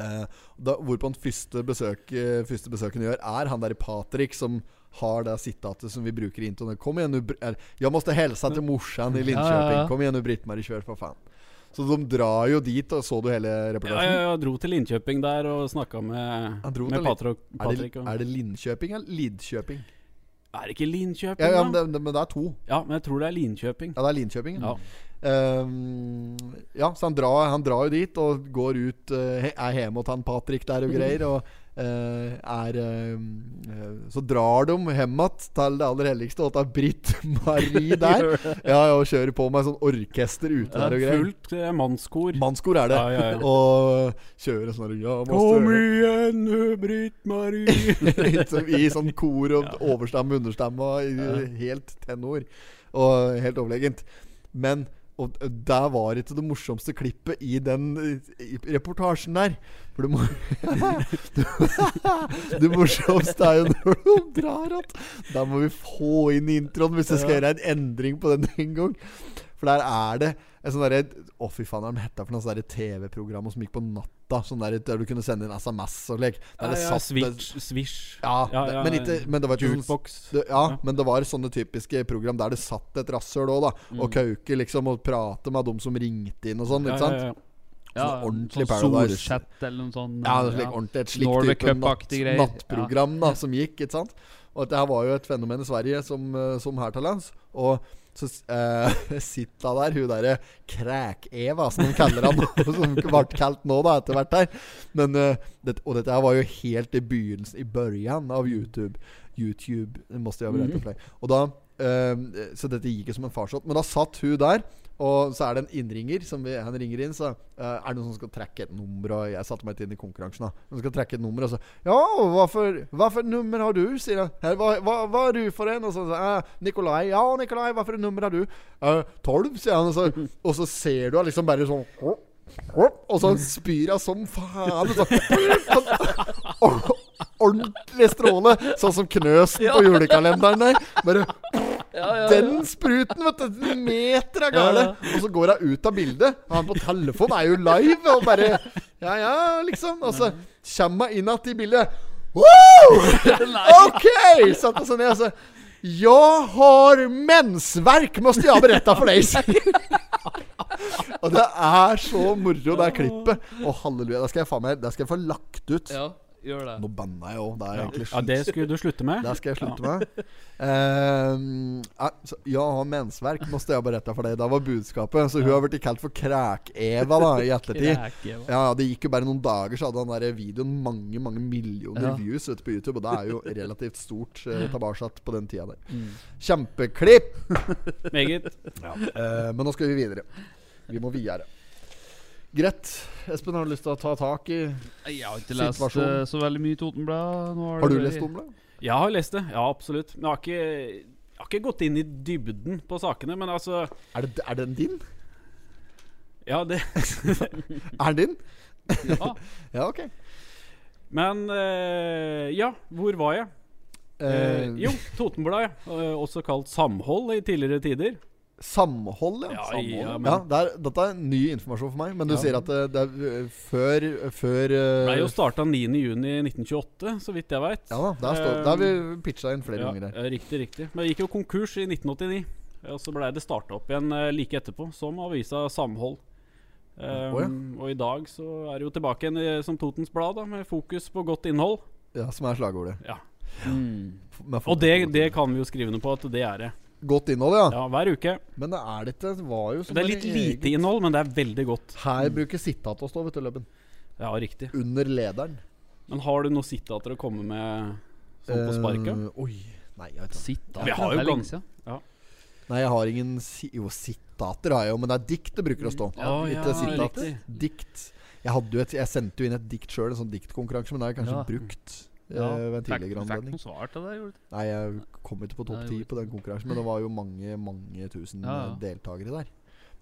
A: Eh, da, hvorpå den første, besøk, eh, første besøken gjør, er han derre Patrick som har det sitatet som vi bruker i introen. Kom igjen, nu, Br- eller, jeg måtte hilse til morsan i
B: Ja, ja,
A: Linköping.
B: ja.
A: Kom igjen, nu, Britt-Marie, kjør, for faen. Så de drar jo dit, og så du hele
C: Ja,
A: reportasjen?
C: jeg, jeg dro til Linköping der og snakka med,
A: Han dro
C: med
A: til Lin-
C: Patrick.
A: Er det,
C: Patrick og, er,
A: er det Linköping eller Lidköping?
C: det, ikke Linköping,
A: Ja, ja, men,
C: da?
A: det, det- men det er to.
C: Ja, men jeg tror det er Linköping.
A: Ja, det er Linköping. Ja.
C: Ja.
A: Ehm, ja, så han drar, han drar jo dit og går ut eh, he- Er hjemme hos han Patrick der og greier. Og eh, er eh, Så drar de hjem igjen til det aller helligste, og til (laughs)
C: (laughs)
A: Britt-Marie der. Ja, ja, og kjører på med sånn orkester ute der og greier.
C: Fullt eh, mannskor.
A: Mannskor er det.
C: Ja, ja, ja.
A: Og kjører sånn der, ja, måste-
C: Kom igjen,
A: (laughs)
C: Britt-Marie.
A: Litt som I sånn kor og overstemme, understemme og i- helt tenor. Og helt overlegent. Men og der var ikke det morsomste klippet i den i reportasjen der. For det, (laughs) mo det morsomste er jo når de drar att. Der må vi få inn introen hvis det skal gjøre en endring på den en gang. For der er det et sånn derre Å, fy faen, hva er det de hetta for noe sånn derre TV-program som gikk på natta? Sånn der, der du kunne sende inn SMS og lek. Der det
C: ja,
A: satt-
C: Switch, Swish.
A: Ja, det- men ikke- men det var ikke sånn-
C: Jukebox.
A: det, ja, men det var sånne typiske program der det satt et rasshøl òg, da. Og kauke liksom og prate med dem som ringte inn og sånn, ikke sant? Ja,
C: ja.
A: Sånn ordentlig
B: sånn
A: Paradise.
B: Solchat eller noe sånt.
A: slik ordentlig et slikt
B: Norway
A: type natt,
B: Cup-aktig greier.
A: nattprogram da som gikk, ikke sant? Og dette her var jo et fenomen i Sverige som, eh, som her til lands. Og så eh, (laughs) sitter hun der, hun derre Kræk-Eva, som de kaller han, (laughs) som ble kalt nå da etter hvert her. Men, eh, det, og dette her var jo helt i begynnelsen, i børjan av YouTube. YouTube, det måste jag väl rätta för dig. Og da, eh, så dette gikk jo som en farsott. Men da satt hun der, og så er det en innringer. Som vi, han ringer inn, så eh, er det noen som skal trekke et nummer. Og jeg satte meg ikke inn i konkurransen. da De skal trekke et nummer, og så Ja, hvorfor, hvorfor nummer har du? sier han. Her, hva, hva, hva er du for en? Og så sier han, «Eh, Nikolai. Ja, Nikolai, hvorfor nummer har du? «Eh, Tolv, sier han. Og så, og så ser du han liksom bare sånn og så spyr hun som faen. og Så, Or- ordentlig stråle, sånn som knøsen på julekalenderen der. Bare Den spruten, vet du! en Meter av gale. Og så går hun ut av bildet. Og han på telefonen er jo live og bare Ja, ja, liksom. Og så kommer hun inn igjen i bildet. Wow! OK! Satte hun seg ned og så Jeg har mensverk, måste jeg berette for deg. sier
C: (laughs)
A: og det er så moro, det klippet. Å, halleluja. Det skal jeg faen meg Det skal jeg få lagt ut.
B: Ja, gjør det.
A: Nå banna jeg òg. Det er egentlig
C: ja, det skulle du slutte med.
A: det skal jeg slutte med. Ehm, ja, så, ja, har mensverk, måste jeg berette for deg. Det var budskapet. Så hun har blitt kalt for Kræk-Eva da, i ettertid.
B: Kræk-Eva.
A: (laughs) Ja, Det gikk jo bare noen dager, så hadde den der videoen mange mange millioner
B: Ja.
A: views ute på YouTube. Og det er jo relativt stort eh, tilbakesatt på den tida der. Kjempeklipp!
C: Meget.
A: Eh, men nå skal vi videre. Vi må videre. Greit. Espen, har du lyst til å ta tak i
B: Jeg har ikke lest
A: Situasjon.
B: eh, så veldig mye Totenblad. Nå
A: Har du
B: det-
A: lest om det?
C: Jeg har lest det. Ja, absolutt. Men jeg har ikke, jeg har ikke gått inn i dybden på sakene, men altså
A: Er, det, er den din?
C: Ja, det
A: Er den din?
B: Ja.
A: (laughs) Ja, ok.
C: Men eh, ja, hvor var jeg? Eh,
A: Eh,
C: jo, Totenbladet. eh, også kalt Samhold i tidligere tider.
A: Samhold, ja.
C: Ja,
A: Samhold,
C: ja,
A: ja,
C: men-
A: det er, dette er ny informasjon for meg, men du sier at det, det er eh, før, før eh,
C: Ble jo starta 9.6.1928, så vidt jeg veit.
A: Ja da, der, står, der har vi pitcha inn flere
C: Ja,
A: ganger her.
C: eh, Riktig, riktig. Men det gikk jo konkurs i 1989. Og så blei det starta opp igjen eh, like etterpå, som avisa Samhold. Eh,
A: Å,
C: Og i dag så er det jo tilbake igjen i- som Totens Blad, da, med fokus på godt innhold.
A: Ja, som er slagordet.
C: Ja.
B: Mm.
A: F- med
C: Og det, det kan vi jo skrive under på at det er det.
A: Godt innhold, ja.
C: Ja, Hver uke.
A: Men det er det ikke. Det var jo som
C: Det er
A: en
C: litt
A: egen-
C: lite innhold, men det er veldig godt.
A: Her bruker sitat å stå, vet du, Løbben.
C: Ja, riktig.
A: Under lederen.
C: Men har du noe sitater å komme med sånn på sparket?
A: Eh, oi. Nei, jeg vet ikke.
B: Sitt da.
C: Vi har jo
B: det er lenge
C: gang-
B: siden.
A: Nei, jeg har ingen si Jo, sitater har jeg jo, men det er dikt det bruker å stå.
C: Å, ja,
A: ikke sitat.
C: riktig.
A: Dikt. Jeg, hadde jo et, jeg sendte jo inn et dikt sjøl, en sånn diktkonkurranse, men det har jeg kanskje
B: Ja.
A: brukt eh,
B: Ja.
A: ved en
B: Fikk
A: tidligere
B: fikk
A: anledning.
B: noen svar til det? Gjorde du?
A: Nei, jeg kom ikke på topp
B: Nei,
A: ti
B: gjorde
A: på den konkurransen, men det var jo mange, mange tusen
B: Ja, ja.
A: eh, deltakere der.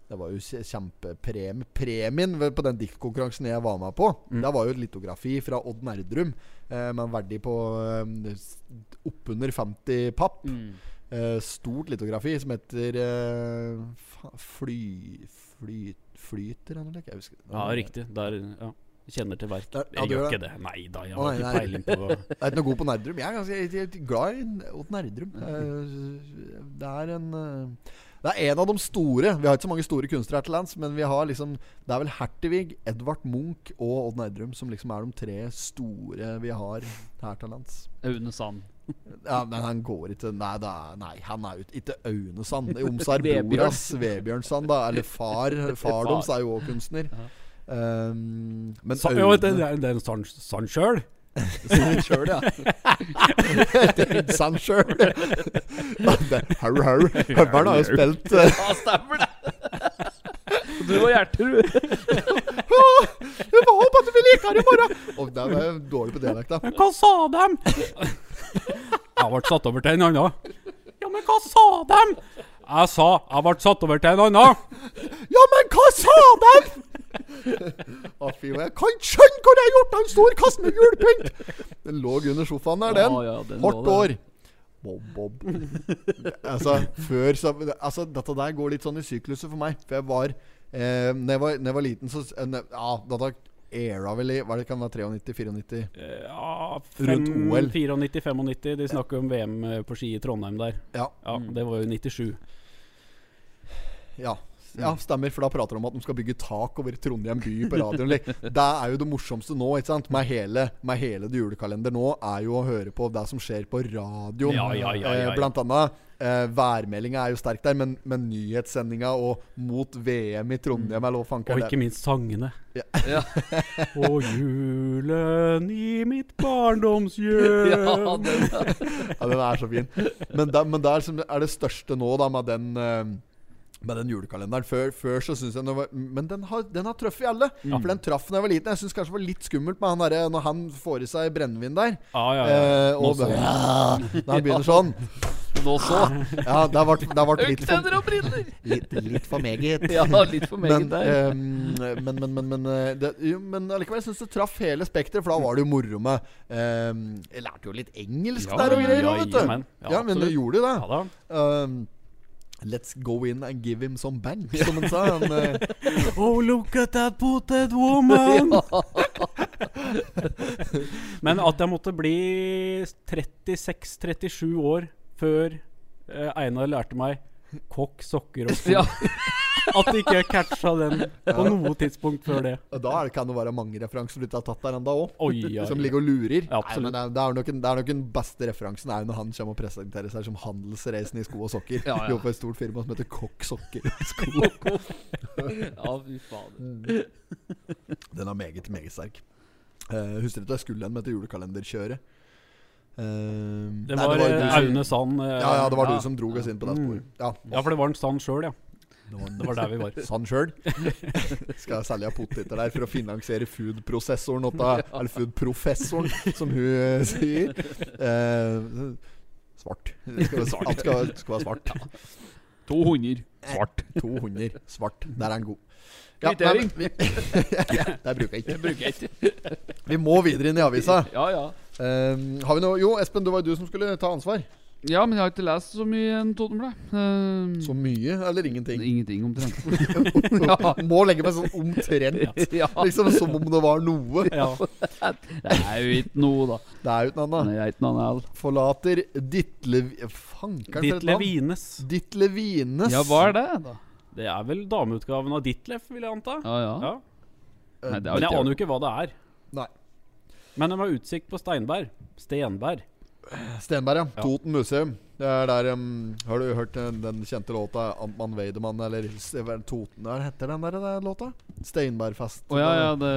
A: Det var jo kje- kjempepremie. Premien ved- på den diktkonkurransen jeg var med på,
C: Mm.
A: det var jo et litografi fra Odd Nerdrum, eh, men verdig på eh, s- oppunder 50 papp.
C: Mm.
B: Mm.
A: Eh, stort litografi som heter eh, fa- fly, fly, Flyter eller noe slikt? Jeg husker det.
C: Ja, riktig. Der ja. Kjenner til verk.
A: Der- ja,
C: Jeg
A: du
C: gjør
A: gjør
C: ikke det. Nei da,
A: Å,
C: jeg har
A: nei,
C: ikke
A: nei.
C: peiling på hva
A: Jeg er ikke noe god på Nerdrum. Jeg er ganske jeg, jeg, er glad i Odd Nerdrum. Eh, Det er en eh, Det er en av de store. Vi har ikke så mange store kunstnere her til lands, men vi har liksom Det er vel Hertevig, Edvard Munch og Odd Nerdrum som liksom er de tre store vi har her til lands.
B: Aune Sand.
A: Ja, men han går ikke Nei, det er, nei han er jo ikke Aune Sand. Omsar
B: Vebjørn.
A: Broras Vebjørn Sand, da. Eller (laughs) far. Far deres er jo òg kunstner. Um, (laughs) men
C: Sa-
A: Aune
C: Jo, det, det er- det er en sand- sand sjøl.
A: Sand sjøl, ja. David (laughs) Sand (laughs) sjøl. Harry Harry. Høveren har jo spilt eh, (laughs)
B: Ja, stemmer det! Du og
C: (laughs)
B: Gjertrud.
A: Jeg får håpe at du blir likere i morgen! Og der var jeg dårlig på dialekta.
C: Hva sa dem? Jeg ble satt over til en annen. Ja, men hva sa dem? Jeg sa jeg ble satt over til en annen.
A: Ja, men hva sa dem?! Å, fy, jeg kan ikke skjønne hva de har gjort! Han står og kaster med julepynt! Den lå under sofaen der, den.
B: Ja, ja, den lå
A: Hardt
B: der.
A: år. Bob, Bob. (laughs) altså, før så, altså, dette der går litt sånn i sykluser for meg. For jeg var eh, Når jeg var, når jeg var liten, så eh, ne- Ja, dette era vel i Hva er det kan være 93-94?
C: Eh, Ja,
A: Rundt
C: fem-
A: OL.
C: 94, 95. De snakker om VM eh, på ski i Trondheim der.
A: Ja.
C: Ja, Det var jo 97.
A: Ja. Ja, stemmer, for da prater de om at de skal bygge tak over Trondheim by på radioen.
B: (laughs)
A: Like. Det er jo det morsomste nå, ikke sant? Med hele, med hele det julekalender nå, er jo å høre på det som skjer på radioen.
B: Ja, ja, ja, ja, ja.
A: Eh, Blant annet eh, værmeldinga er jo sterk der, men, men nyhetssendinga og mot VM i
B: Mm.
A: Trondheim eller hva
C: Og
A: fanker
C: ikke minst sangene.
A: Ja.
B: Ja.
C: (laughs) Og julen i mitt
B: (laughs) Ja,
C: barndomshjem
A: Ja,
B: den,
A: den er så fin. Men, da, men det er, som, er det største nå, da, med den eh, med den julekalenderen. Før, før så syns jeg den var, Men den har, den har truffet alle.
B: Mm.
A: For den traff da jeg var liten. Jeg syns kanskje det var litt skummelt med han derre når han får i seg brennevin der.
C: Ja, ja, ja.
A: Eh,
B: Nå
A: og
B: så.
A: bare, ja, Når han begynner sånn.
B: nå
A: (laughs)
B: så.
A: Ja, det har vært- det har vært litt for
B: Øktenner og briller!
A: Litt, litt for meget.
B: (laughs) Ja, litt for meget
A: Men,
B: der.
A: eh, men, men, men, men, eh, det, jo, men allikevel syns det traff hele spekteret, for da var det jo moro med eh, Jeg lærte jo litt engelsk
B: Ja,
A: der og greier
B: ja,
A: òg, vet
B: ja,
A: du.
B: men- ja,
A: ja, men du
B: absolutt.
A: gjorde jo det.
C: ja da.
A: Um, Let's go in and give him some bang, som han sa. Han, eh,
C: (laughs) Oh, look at that potet woman! (laughs) Men at jeg måtte bli 36-37 år før eh, Einar lærte meg kokk,
B: (laughs)
C: sokker og sko.
B: Ja.
C: At ikke jeg catcha den på noe tidspunkt før det.
A: og da er det- kan det være mange referanser du ikke har tatt der ennå òg.
C: Oi, oi,
A: Som
C: oi.
A: ligger og lurer.
C: Ja, absolutt.
A: Nei, men det, er, det, er nok en, det er nok den beste referansen er jo når han kommer og presenterer seg som handelsreisen i sko og sokker.
B: Ja, ja.
A: (laughs) Jobber på et stort firma som heter Kokk Sokker.
B: Ja, fy fader.
C: Mm.
A: (laughs) Den er meget, meget sterk. Eh, husker du ikke jeg skulle en med til julekalenderkjøret? Eh,
C: Det
A: nei, jo
C: var,
A: du
C: eh,
A: som-
C: Aune Sand. eh, Mm.
A: Ja, ja, det var
B: Ja.
A: du som drog oss inn på det sporet. Ja,
C: ja, for det var en Sand sjøl, ja.
A: det
C: Det var der vi var.
A: Sann sjøl. (laughs) Skal jeg selge poteter der for å finansiere foodprosessoren åtta, Eller foodprofessoren, som hun eh, sier. Eh, svart. Det skal være svart. Alt skal, være- skal være svart.
B: 200. Svart.
A: 200 svart. Der er den god. Ja,
B: Kvittering.
A: nei, (laughs) men- Der bruker jeg ikke.
B: Det bruker
A: (laughs)
B: jeg ikke.
A: Vi må videre inn i avisa.
B: Ja, ja.
A: Eh, har vi noe Jo, Espen, det var jo du som skulle ta ansvar.
B: Ja, men jeg har ikke lest så mye enn Totenbladet. Eh,
A: Så mye eller ingenting?
B: Ingenting omtrent.
A: Må legge meg sånn omtrent.
B: (laughs) Ja,
A: Liksom som om det var noe.
C: ja.
B: det er jo ikke noe, da.
A: Det er jo ikke noe annet.
B: Nei, jeg er ikke noe annet.
A: Forlater Ditlev... Fankeren for et
C: Ditlev
A: navn!
C: Ines.
A: Ditle Vines.
B: Ja, hva er det, da?
C: Det er vel dameutgaven av Ditlef, vil jeg anta.
B: Ja, ja.
C: Ja.
A: Eh,
B: Nei, det
C: Men jeg aner jo
B: ikke
C: ikke hva det er.
A: Nei.
C: Men de har utsikt på Steinberg. Stenberg.
A: Stenberg, ja. Toten Museum. Det er der um, Har du hørt den, den kjente låta Antmann Weidemann, eller s- hva er det, Toten Hva heter den der den låta? Steinbergfest.
B: Å ja, ja, det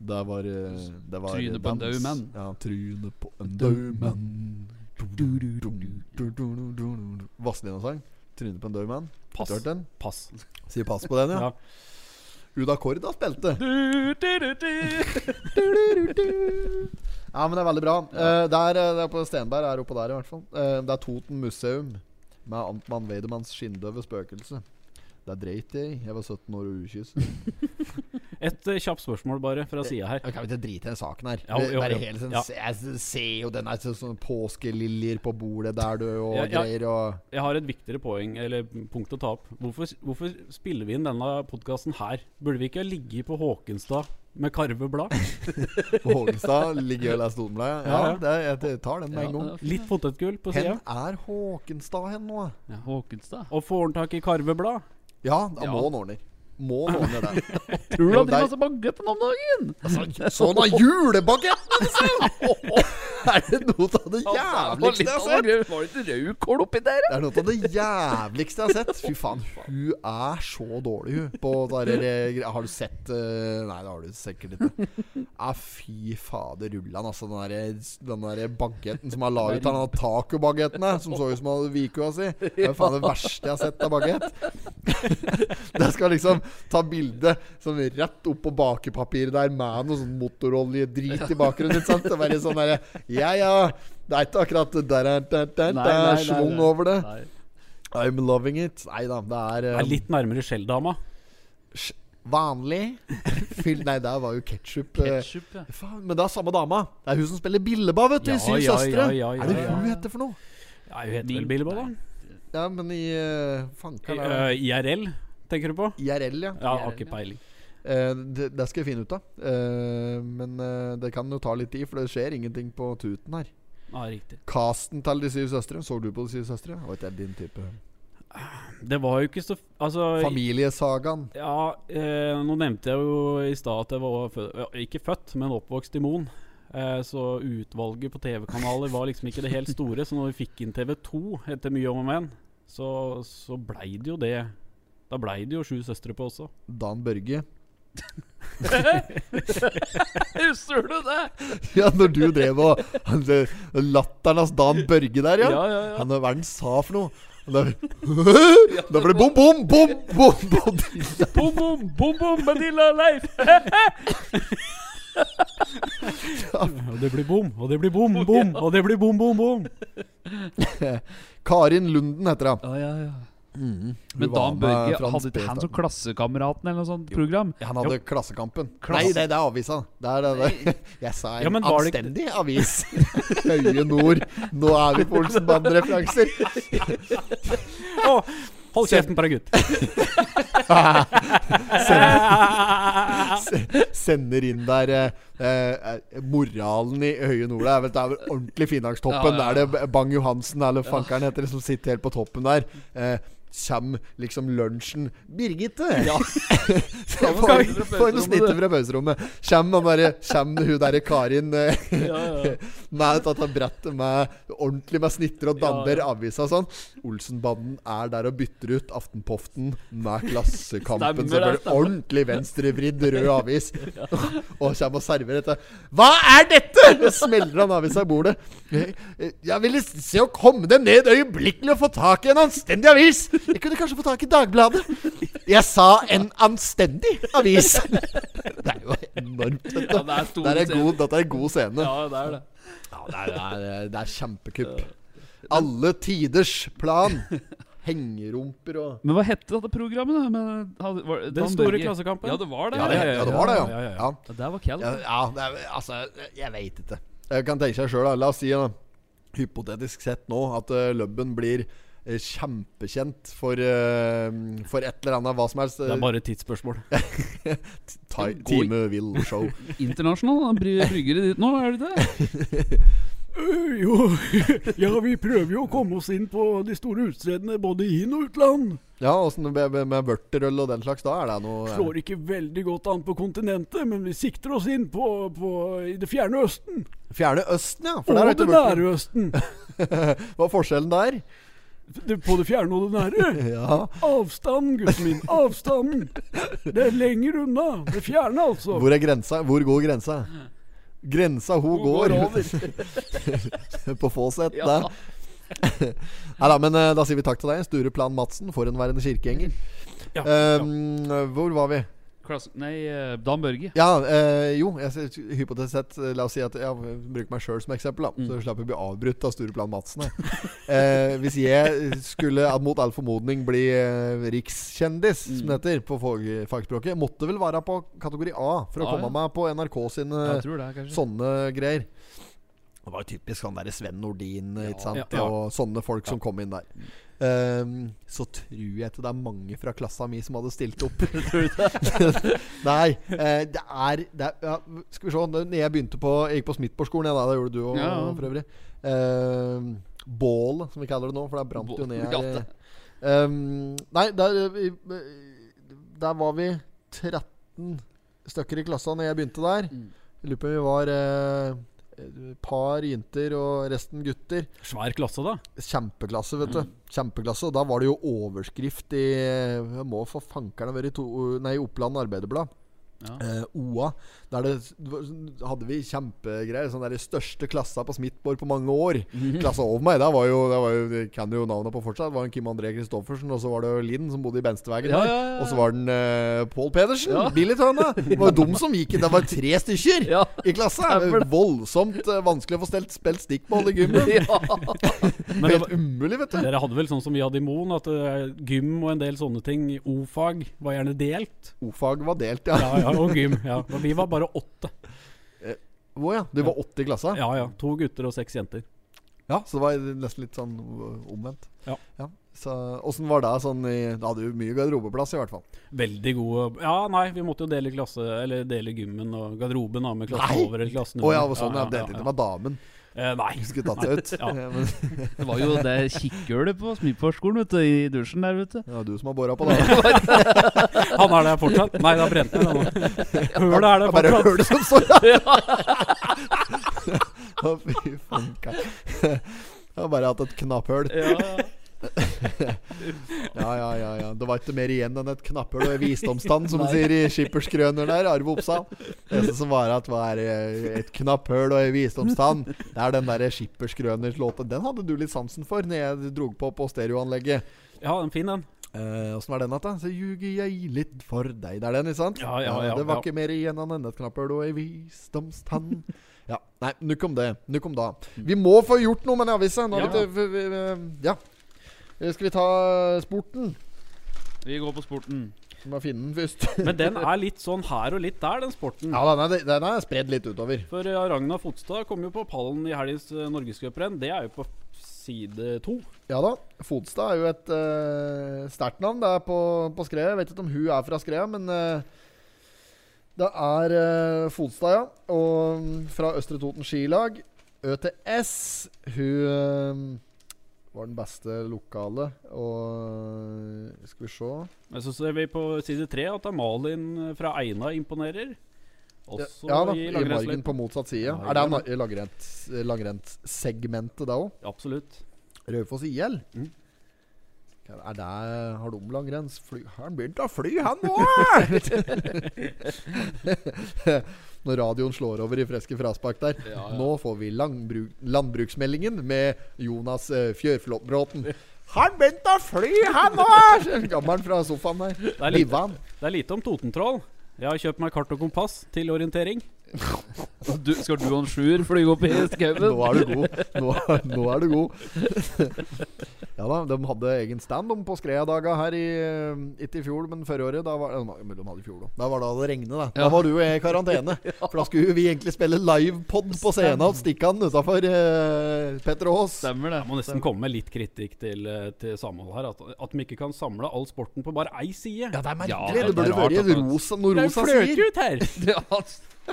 A: Det var, eh, det var
B: Trynet på en
A: dans.
B: død mann.
A: Ja, trynet på en død mann. Vazelina-sang. Trynet på en død mann.
C: Pass.
A: Ikke hørt den?
C: Pass.
A: Sier pass på den, ja.
C: Ja.
A: Uda Korda spilte.
B: du-du-du-du.
A: Ja, men det er veldig bra. Eh, der, eh, det er på Stenberg er oppå der, i hvert fall. Eh, det er Toten museum med Amtmann Weidemanns skinndøve spøkelse. Det dreit jeg i. Jeg var 17 år og
C: (laughs)
A: ukyss.
C: Et eh, kjapt spørsmål bare fra sida her.
A: Jeg kan ikke drite i den saken her.
C: Jo, jo,
A: Bare
C: jo.
A: hele tiden
C: Ja.
A: se- Jeg ser jo den der så- sånne påskeliljer på bordet der, du, og
C: Ja, ja.
A: greier og
C: Jeg har et viktigere poeng, eller punkt å ta opp. Hvorfor, hvorfor spiller vi inn denne podkasten her? Burde vi ikke ha ligget på Håkenstad med karveblad?
A: På
C: (laughs)
A: Håkenstad ligger og leser Totenbladet. Ja,
C: Ja, ja.
A: det, jeg jeg tar den med en gang.
C: Litt potetgull på
A: Hen
C: sida.
A: er Håkenstad hen nå?
B: Ja, Håkenstad.
C: Og får han tak i karveblad?
A: Ja, da
B: Ja.
A: må han ordner. Må han ordner det.
B: Tror du
A: Jo,
B: han driver
A: der-
B: masse baguetten om dagen?
A: (laughs) Sånn har julebagetten (laughs) Er det noe av det jævligste jeg har sett?
B: Var det ikke rødkål oppi der?
A: Det er noe av det jævligste jeg har sett. Fy faen, hun er så dårlig, hun. På der, har du sett eh, Nei, det har du sikkert ikke. Ja, fy fader, rullan, altså. Den der, den der bagetten som er laget av den tacobagetten der, som så ut som han hadde vikua si. Det er faen det verste jeg har sett av bagett. (laughs) Det skal liksom ta bilde sånn rett opp på bakepapiret der med noe sånn motoroljedrit i bakgrunnen. Ikke sant? Det er bare sånn derre Ja, ja. Det er ikke akkurat der, der, der, der,
B: Nei, nei,
A: der
B: nei,
A: schwung
B: nei.
A: over det.
B: Nei.
A: I'm loving it. Nei da, det er,
C: Er
A: eh,
C: litt nærmere Skjelldama.
A: sj- vanlig. Fyll Nei, der var jo
C: (laughs)
A: eh, ketsjup.
B: Ketchup, ja.
A: Faen, men det er samme dama. Det er hun som spiller Billeba, vet du. I
C: Ja,
A: Syv
C: ja,
A: søstre.
C: ja, ja,
A: er det
C: ja,
A: hun
B: ja.
A: heter for noe?
C: Ja, Nei, hun heter
B: Min-
C: vel Bilbo, da?
A: Ja, men i uh, Fanker, da.
C: Eh, IRL, tenker du på?
A: IRL, ja.
C: Ja, har
B: IRL,
C: ikke
B: ja.
C: peiling.
A: Eh, det, det skal jeg finne ut av. Eh, men eh, det kan jo ta litt tid, for det skjer ingenting på tuten her.
C: Ja, riktig.
A: Casten til De syv søstre. Så du på De syv søstre? Jeg vet ikke, din type
C: Det var jo ikke så Altså
A: Familiesagaen.
C: Ja, eh, nå nevnte jeg jo i stad at jeg var fø- ja, ikke født, men oppvokst i Moen. Eh, så utvalget på TV-kanaler var liksom ikke det helt store. Så når vi fikk inn TV2 etter mye om og men, så, så blei det jo det. Da blei det jo Sju søstre på også.
A: Dan Børge. (laughs)
B: Husker du det?
A: Ja, når du drev og (laughs) han, det- Latteren hans Dan Børge der, ja.
B: Ja, ja, ja.
A: Han, hva er det han sa for noe? Og Da, (laughs) da ble det bom, bom, bom, bom, bom.
B: Bom, bom, bom, bom, Manila
C: (laughs)
B: Leif!
C: Og det blir bom, og det blir
B: (laughs)
C: bom, bom, og det blir bom, bom, bom.
A: Karin Lunden heter hun.
B: Ja, ja, ja.
A: Mhm. Hun
B: Men
A: var
B: Dan
A: med
B: Børge
A: Frans
B: hadde ikke han
A: Petersen.
B: som Klassekameraten eller noe sånt program?
A: Han hadde Klassekampen.
B: Klasse-
A: Nei, det, det er avisa. Det er det, det. (laughs) Jeg sa en
C: Ja, men var det ikke-
A: anstendig avis. (laughs) Høye Nord. Nå er
C: (laughs)
A: vi på Olsenband-referanser.
C: Å, hold kjeften på deg, gutt.
A: (laughs) Sender inn der eh, eh, moralen i Høye Nord. Det er vel, det er vel ordentlig Finnakstoppen.
B: Ja, ja,
A: Det er det Bang Johansen eller fankeren heter det, som sitter helt på toppen der. Eh, Kjem liksom lunsjen Birgitte! (laughs) Ja. Får får noe snitte fra pauserommet. Kjem, han derre- kjem hun derre Karin eh, Med et dette brettet med ordentlig med snitter og danner avisa og sånn. Olsenbanden er der og bytter ut Aftenpoften med Klassekampen. Så
B: Stemmer
A: det
B: det,
A: blir ordentlig venstrevridd
B: (laughs)
A: rød avis. Og kommer og serverer dette. Hva er dette?! Og smeller han avisa i bordet. Jeg ville se å komme dem ned øyeblikkelig og få tak i en anstendig avis! Jeg kunne kanskje få tak i Dagbladet. Jeg sa en anstendig avis! Det er jo enormt, vet du.
B: Ja, det er stor
A: Dette er
B: scene.
A: god, dette er god scene.
B: Ja, det er det.
A: Ja, det er, det er, det er kjempekupp. Alle tiders plan. Hengerumper og
B: Men hva hette dette programmet? da? Men, hadde, var, Dan
C: Den store
B: Børge?
C: klassekampen.
B: Ja, det var det.
A: Ja, det, ja, det var det, ja.
C: ja, ja, ja.
A: Ja,
B: Ja, Det var Kjell.
A: ja, ja det er, altså Jeg veit ikke. Jeg kan tenke seg sjøl, da. La oss si, da, hypotetisk sett nå, at uh, Lubben blir eh, kjempekjent for, eh, for et eller annet, hva som helst.
C: Det
A: Uh,
C: er bare et tidsspørsmål.
A: ti,
B: gå i-
A: time will show.
B: Internasjonal da, bry, brygger i ditt nå, er det det?
C: Øh, Jo, (laughs) ja, vi prøver jo å komme oss inn på de store utstedene både i inn- og utland.
A: Ja, åssen med, med- med vørterøl og den slags? Da er det noe eh,
C: Slår ikke veldig godt an på kontinentet, men vi sikter oss inn på, på i det fjerne østen.
A: Fjerne Østen, ja. For
C: Og
A: der er
C: det
A: ikke vørter.
C: nære østen.
A: (laughs) Hva er forskjellen der?
C: Det, på det fjerne og det nære.
A: Ja.
C: Avstanden, gutten min. Avstanden. Det er lenger unna. Det fjerne, altså.
A: Hvor er grensa? Hvor går grensa? Grensa hun går, (laughs) på Fåset.
B: Ja.
A: (laughs) Ja. Nei da, men eh, da sier vi takk til deg, Sture Plan Madsen, forhenværende kirkegjenger.
C: Ja,
A: Ehm, Hvor var vi?
B: Klasse, nei, eh, Dan Børge.
A: Ja, eh, jo, jeg, ser- hypotetisk sett, eh, la oss si at jeg bruker meg sjøl som eksempel, da. Så slipper jeg å bli avbrutt av Sture Plan Madsen. jeg. (laughs) eh, hvis jeg skulle eh, mot all formodning bli eh, rikskjendis, som det heter på fag- fagspråket, måtte vel være på kategori A for å
B: Ah,
A: komme
B: ja.
A: meg på NRK sine
B: Jeg tror det, kanskje.
A: Sånne greier. Det var jo typisk sånn der Sven Nordin ikke sant?
C: ja, ja.
A: og sånne folk som kom inn der. Ehm, så tror jeg ikke det er mange fra klassa mi som hadde stilt
C: (laughs)
A: opp. (laughs) Nei. eh, det er, det er ja, Skal vi se Når jeg begynte på Jeg gikk på Smithborgskolen, jeg da. Det gjorde du òg,
B: Ja, ja.
A: for øvrig. Ehm, bål, som vi kaller det nå, for det brant jo
B: Bål.
A: ned
B: Ja,
A: her.
B: det.
A: Ehm, nei, der, vi- der var vi 13 stykker i klassa når jeg begynte der.
B: Mm.
A: Jeg lurer på om vi var eh, et par jenter og resten gutter.
C: Svær klasse, da.
A: Kjempeklasse, vet du.
B: Mm.
A: Kjempeklasse. Og da var det jo overskrift i jeg Må for fankerne være i to, nei, Oppland Arbeiderblad.
B: Ja.
A: Eh, OA. Der det, det var- hadde vi kjempegreier. Sånn der de største klassa på Smithborg på mange år.
B: Mm.
A: Klassa over meg, der var jo, der var jo det kan jo navnet på fortsatt. Det var en Kim André Christoffersen, og så var det jo Linn som bodde i Benstevegen.
B: Ja,
A: der.
B: ja, ja, ja.
A: Og så var den uh, Pål Pedersen.
B: Ja.
A: Billigtønna. Det var
B: (laughs)
A: jo dem som gikk inn. Det var tre stykker
B: Ja.
A: i klassa. Det
B: Stemmer
A: er
B: det.
A: Voldsomt eh, vanskelig å få stelt, spilt stikkball i
B: (laughs)
A: gymmen. (laughs)
C: Men det
A: Helt umulig, vet du.
C: Dere hadde vel sånn som vi hadde i Moen, at eh, gym og en del sånne ting, o-fag, var gjerne delt.
A: O-fag var delt, ja.
C: Ja, ja, og gym. Ja. Og (laughs) vi var bare åtte.
A: Å ja. Du var 80 i klassa?
C: Ja ja. To gutter og seks jenter.
A: Ja, så det var nesten litt sånn øh, omvendt.
C: Ja.
A: Så åssen var det sånn i Da hadde du mye garderobeplass, i hvert fall.
C: Veldig gode Ja, nei, vi måtte jo dele klasse Eller dele gymmen og garderoben da, med klassen
A: Nei!
C: over eller klassen
A: Å ja,
C: under.
A: sånn, ja, delte ikke med damen.
C: Eh, nei.
A: Du skulle tatt deg ut.
C: (laughs) Ja.
A: (laughs) Ja, men
B: Det var jo det kikkhullet på Smidforsskolen, vet du, i dusjen der, vet du.
A: det var du som har båra på, da.
C: Han er der fortsatt? Nei, det har
A: (laughs)
C: brent ned. han. Hølet er
A: Det
C: der
A: er bare
C: fortsatt.
A: hølet som står
C: (laughs)
A: der. Å, fy fanka. Jeg har bare hatt et knapphull.
C: Ja, ja.
A: (laughs) Ja, ja, ja, ja. Det var ikke mer igjen enn et knapphull og en visdomstann, som de sier i Skipperskrøner der. Arve Oppsal. Det eneste som var at var eh, et knapphull og en visdomstann. Det er den derre Skipperskrøners-låta. Den hadde du litt sansen for når jeg drog på på stereoanlegget.
C: ja, den fin, den.
A: Eh, Åssen var den igjen, da? Så ljuger jeg litt for deg. Det er den, ikke sant? Eh,
C: Ja, ja, ja,
A: det var
C: ja.
A: ikke mer igjen enn et knapphull og ei visdomstann. (laughs) Ja, Nei, nok om det. Nok om da. Vi må få gjort noe med den avisa. Nå har vi
B: Ja.
A: ikke- vi- vi- vi- Ja. Eh, Skal vi ta sporten?
B: Vi går på sporten.
A: Du må finne den først.
C: Men den er litt sånn her og litt der, den sporten.
A: ja, den er, den er spredd litt utover.
C: For eh, Ragna Fotstad kom jo på pallen i helgens eh, norgescuprenn. Det er jo på side to.
A: Ja da. Fodstad er jo et eh, sterkt navn. Det er på, på skredet. Jeg vet ikke om hun er fra skredet, men eh, det er eh, Fodstad, ja. Og mm, fra Østre Toten skilag. ØTS. Hun eh, var den beste lokale, og eh, Skal vi se
C: Men Så ser vi på side tre at Malin eh, fra Eina imponerer. Også
A: Ja da,
C: i
A: i margen
C: langrennsløypa.
A: på motsatt side.
C: Ja,
A: er det
C: gjør
A: na- langrenns- langrennssegmentet, det òg?
C: Absolutt.
A: Raufoss IL?
C: Mm.
A: Er det Har de langrenns? Fly- Har han begynt å fly, han (laughs) nå?! Når radioen slår over i friske fraspark der. Nå får vi langbru- landbruksmeldingen med Jonas eh, Fjørflåtbråten. Har han begynt å fly, han nå?! (laughs) Gammelen fra sofaen der.
C: Det er, lite,
A: Livan.
C: det er lite om Totentroll. Jeg har kjøpt meg kart og kompass til orientering.
B: Du, skal du og en sjuer flyge opp i skauen?
A: Nå er du (laughs) god. Nå, nå er du god. (laughs) ja da, de hadde egen stand de på Skreia-daga her i eh, Ikke i fjor, men forrige året. Da var, eh, men de hadde i fjor, da. da var det det regnet, da. Da
B: Ja.
A: var du i (laughs) karantene. For da skulle vi egentlig spille livepod på scenen og stikke han utafor Petter Aas.
B: Stemmer det.
C: Jeg må nesten komme med litt kritikk til, eh, til samhold her. At, at de ikke kan samle all sporten på bare ei side.
A: Ja, det er merkelig.
B: Ja,
A: det,
B: det er
A: burde
B: rart altså.
A: vært
B: at
A: et
B: man-
A: rosa, noe
C: det er
A: rosa sier.
C: fløtut her!
B: (laughs)
A: (laughs)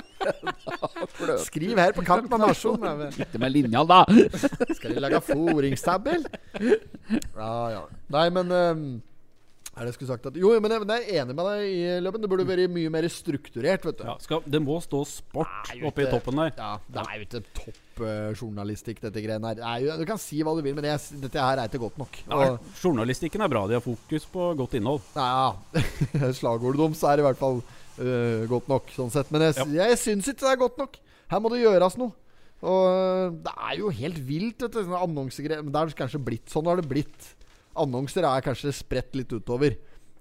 B: Ja, ass.
A: Skriv her på kanten av nasjonen. er vi-
B: Sitte med linja, da.
A: Skal de lage fôringstabell? (laughs) Ja, ja. Nei, men ehm, Er det jeg skulle sagt at Jo, men jeg, men jeg er enig med deg i Løbben. Det burde vært mye mer strukturert, vet du.
C: Ja, skal, det må stå sport
A: Nei,
C: oppe i
A: ute.
C: toppen der.
A: Ja, det er jo ikke topp eh, journalistikk, dette greiene her. Det er jo, du kan si hva du vil, men jeg, dette her er ikke godt nok.
C: Nei,
A: Og,
C: journalistikken er bra. De har fokus på godt innhold.
A: nei, ja. (laughs) Slagordet deres er i hvert fall eh, godt nok, sånn sett. Men jeg, jeg syns ikke det er godt nok. Her må det gjøres noe. Og eh, det er jo helt vilt, dette. Sånne annonsegreier. Men det er kanskje blitt sånn. har det blitt. Annonser er kanskje spredt litt utover.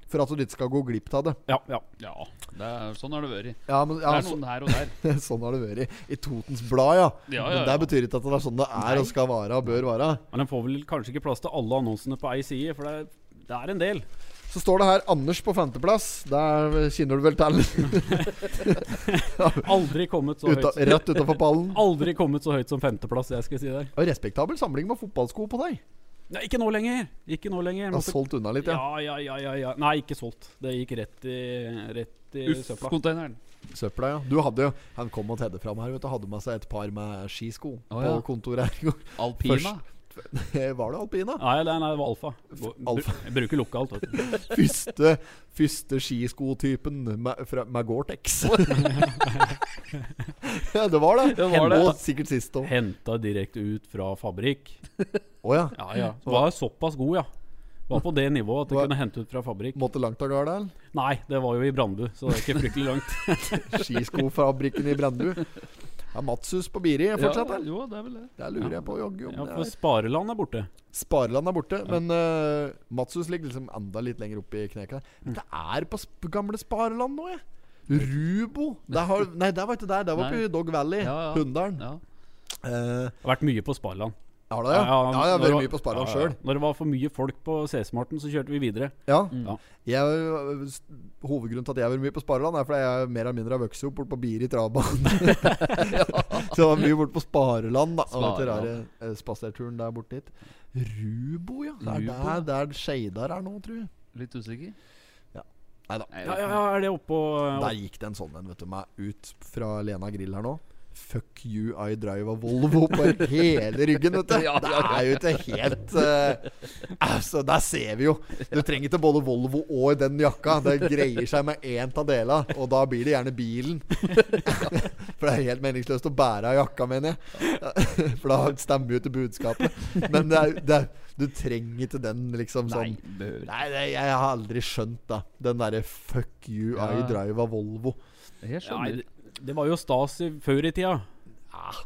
A: For at du ikke skal gå glipp av det.
C: Ja, ja.
B: Ja, altså- det er, sånn har det vært.
A: Ja, men,
B: Det
A: ja,
B: er noen her (laughs) og der.
A: så, (laughs) sånn har det vært. I Totens Blad, ja.
B: Ja,
A: Men
B: ja,
A: det
B: ja.
A: betyr ikke at det er sånn det er og skal være og bør være.
C: Men de får vel kanskje ikke plass til alle annonsene på ei side, for det er, det er en del.
A: Så står det her Anders på femteplass. Der kjenner du vel til
C: Aldri kommet så
A: (laughs) Uta,
C: høyt.
A: rett utafor pallen.
C: Aldri kommet så høyt som femteplass, jeg skal si der.
A: Og respektabel samling med fotballsko på deg.
C: Nei, ikke nå lenger! Ikke nå lenger.
A: Jeg har
C: Måtte,
A: solgt unna litt,
C: ja,
A: ja.
C: ja, ja, ja, ja. Nei, ikke solgt. Det gikk rett i, rett i søpla.
B: Uff-konteineren.
A: Søpla, ja. Du hadde jo Han kom og tedde fram her, vet du. Hadde med seg et par med skisko
B: Å,
A: på
B: ja.
A: kontoret her i går.
B: Alpina.
A: Først. Var (laughs) det alpina?
C: Nei, nei, nei, det var alfa.
A: Alfa.
C: Jeg bruker lokalt. vet
A: (laughs)
C: du.
A: Første, første skiskotypen med, fra- med Gore-Tex. (laughs) ja, det var det.
B: Det var det.
A: Og sikkert sist òg.
C: Henta direkte ut fra fabrikk.
A: Å ja.
C: Ja, ja. Var såpass god, ja. Var på det nivået at det
A: Hva-
C: kunne hente ut fra fabrikk.
A: Måtte langt av gårde, eller?
C: Nei, det var jo i Brandbu, så det er ikke fryktelig langt.
A: (laughs) Skiskofabrikken i Brendu. Ja, Matsus på Biri fortsatt,
B: Ja,
A: eller?
B: Jo, det er vel det.
A: Der lurer jeg på jogge om
C: Ja,
A: det
C: for
A: er.
C: Spareland er borte.
A: Spareland er borte, men eh, Matsus ligger liksom enda litt lenger oppe i kneka. Men det er på sp gamle Spareland nå, jeg. Rubo. Det har, nei, det var ikke der. Det var
B: Nei.
A: på Dog Valley.
B: Ja, ja.
A: Hunndalen.
B: Ja.
A: Eh,
C: Det har vært mye på Spareland.
A: Har du det? Ja, ja, jeg har
C: når
A: vært
C: det
A: mye på
C: var-
A: Sparland
C: ja, ja.
A: sjøl.
C: Når det var for mye folk på C-smarten, så kjørte vi videre.
A: Ja.
C: Ja.
A: Jeg, hovedgrunnen til at jeg har vært mye på Spareland, er fordi jeg mer eller mindre har vokst opp borte på Biri travbane. (laughs) Så jeg var mye borte på Spareland, da. Og dette rare
B: Spareland.
A: eh, spaserturen der borte dit. Rubo, ja. Det er
B: Rubo.
A: der, der Skeidar er nå, tror jeg.
B: Litt usikker?
A: Ja. Neida.
B: Nei,
C: Ja, ja, ja, er det oppå eh,
B: eh,
A: Der gikk det en sånn en, vet du meg, ut fra Lena Grill her nå. Fuck you, I drive a Volvo på hele ryggen, vet du.
B: (laughs) Ja,
A: Det
B: ja, ja.
A: er jo ikke helt eh, Altså, der ser vi jo. Du trenger ikke både Volvo og den jakka. Det greier seg med én av dela, og da blir det gjerne bilen. (laughs) For det er helt meningsløst å bære av jakka, mener jeg. For da stemmer jo ikke budskapet. Men det er, det er, du trenger ikke den, liksom
B: Nei,
A: sånn.
B: behøver
A: Nei, det, jeg har aldri skjønt da Den derre 'fuck you, I
B: Ja.
A: drive' av Volvo.
B: ikke. Jeg
C: Nei,
B: skjønner.
C: det- det var jo stas i, før i tida.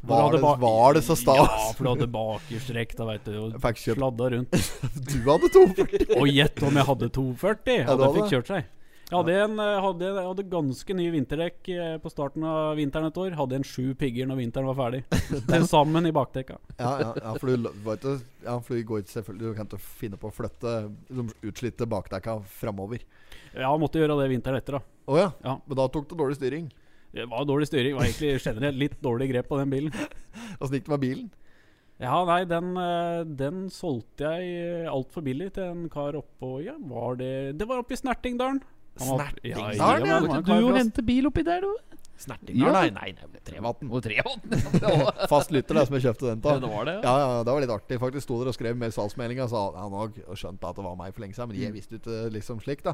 A: Var det,
C: ba-
A: var det så
C: Ja,
A: stas? (laughs)
C: for du hadde bakerstrekk, da, veit du. Og
A: Fikk kjøpt-
C: sladda rundt.
A: (laughs) Du hadde to! først.
C: Og gjett om jeg hadde 240
A: Ja, du
C: hadde jeg
A: hadde
C: fikk kjørt seg. Jeg hadde, en, eh, hadde, jeg hadde ganske nye vinterdekk eh, på starten av vinteren et år. Hadde en sju pigger når vinteren
A: (laughs)
C: var ferdig. Til sammen i bakdekka.
A: Ja, ja, ja, for du, vet du, ja, for du går ikke selvfølgelig Du kan ikke finne på å flytte de utslitte bakdekka framover.
C: Ja, måtte gjøre det vinteren etter, da.
A: Å ja.
C: Ja.
A: Men da tok du dårlig styring.
C: Det var dårlig styring. Var egentlig generelt litt dårlig grep på den bilen.
A: Åssen gikk det med bilen?
C: Ja, nei, den, eh, den solgte jeg altfor billig til en kar oppå Ja, var det Det var oppe i Snertingdalen. Han var- Ja,
A: Snertingdalen, ja,
C: ja, men det var en
B: Måtte
C: kar
B: du jo
C: fra-
B: hente bil oppi der, du?
A: Snerting?
B: Ja.
A: Nei, nei, nei, Trevatn.
B: Og tre (laughs) hånd. Det
A: Fast lytter, det som jeg kjøpte den av.
B: var det, (laughs) ja.
A: Ja, ja, det var litt artig. Faktisk sto der og skrev med salgsmeldinga. Så han òg skjønte at det var meg for lenge siden, men
B: Mm.
A: jeg visste ikke liksom slik, da.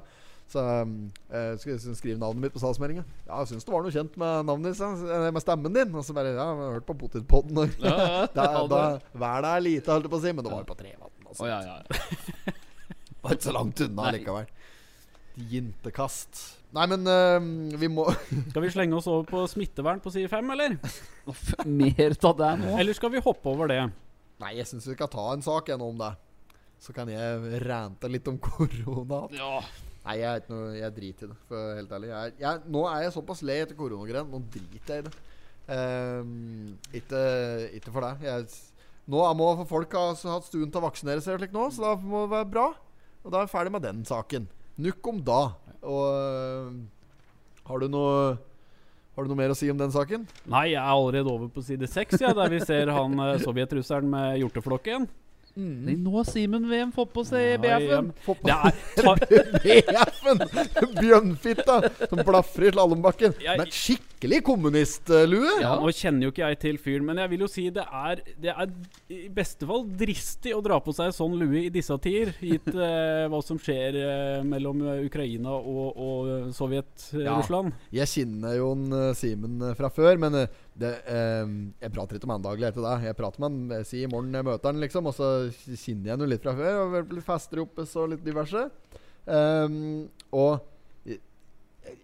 A: Så um, eh, skal jeg skrive navnet mitt på salgsmeldinga. Ja, jeg syns det var noe kjent med navnet ditt, sa han, eh, med stemmen din. Og så bare Ja, jeg har hørt på
B: (laughs)
A: Potetpodden og
B: Ja, ja,
A: da,
B: ja,
A: da,
B: det-
A: Hver dag er lite, holdt jeg på å si, men det var jo på Trevatn. Altså.
B: Å, ja, ja.
A: Det var ikke så langt unna
B: Nei.
A: likevel. Jintekast. Nei, men eh, vi må (laughs)
C: Skal vi slenge oss over på smittevern på side fem, eller?
B: Nå f- Mer av det nå.
C: Eller skal vi hoppe over det?
A: Nei, jeg syns vi skal ta en sak gjennom det. Så kan jeg rante litt om korona.
B: Ja.
A: Nei, jeg, er ikke noe, jeg driter i det, for å være helt ærlig. Jeg, er- jeg, nå er jeg såpass lei etter koronagreien. Nå driter jeg i det. Ehm, ikke, ikke for deg. Jeg, nå er- må folk ha s- hatt stuen til å vaksinere seg, slik nå, så da må det være bra. Og da er vi ferdig med den saken. Nukk om da. Og øhm, har du noe Har du noe mer å si om den saken?
C: Nei, jeg er allerede over på side seks, ja, der vi ser han eh, sovjetrusseren med hjorteflokken.
B: Nei, nå har Simen VM fått på seg
C: Ja,
B: BF-en.
A: Få på
C: Det er ta,
A: BF-en! Bjørnfitta som blafrer i slalåmbakken.
C: Jeg-
A: Med et skikkelig eh, kommunistlue.
C: (laughs) ja, Nå kjenner jo ikke jeg til fyren, men jeg vil jo si det er, det er i beste fall dristig å dra på seg sånn lue i disse tider, (laughs) gitt eh, hva som skjer eh, mellom eh, Ukraina og, og
A: Ja.
C: Sovjet-Russland.
A: Jeg kjenner jo en, eh, Simen eh, fra før, men eh, det, eh, jeg prater ikke om han daglig etter det. Jeg prater med han eh, si i morgen jeg møter han, liksom, og så kjenner jeg han jo litt fra før. Og vel- litt fester oppe så litt diverse. Ehm, og jeg,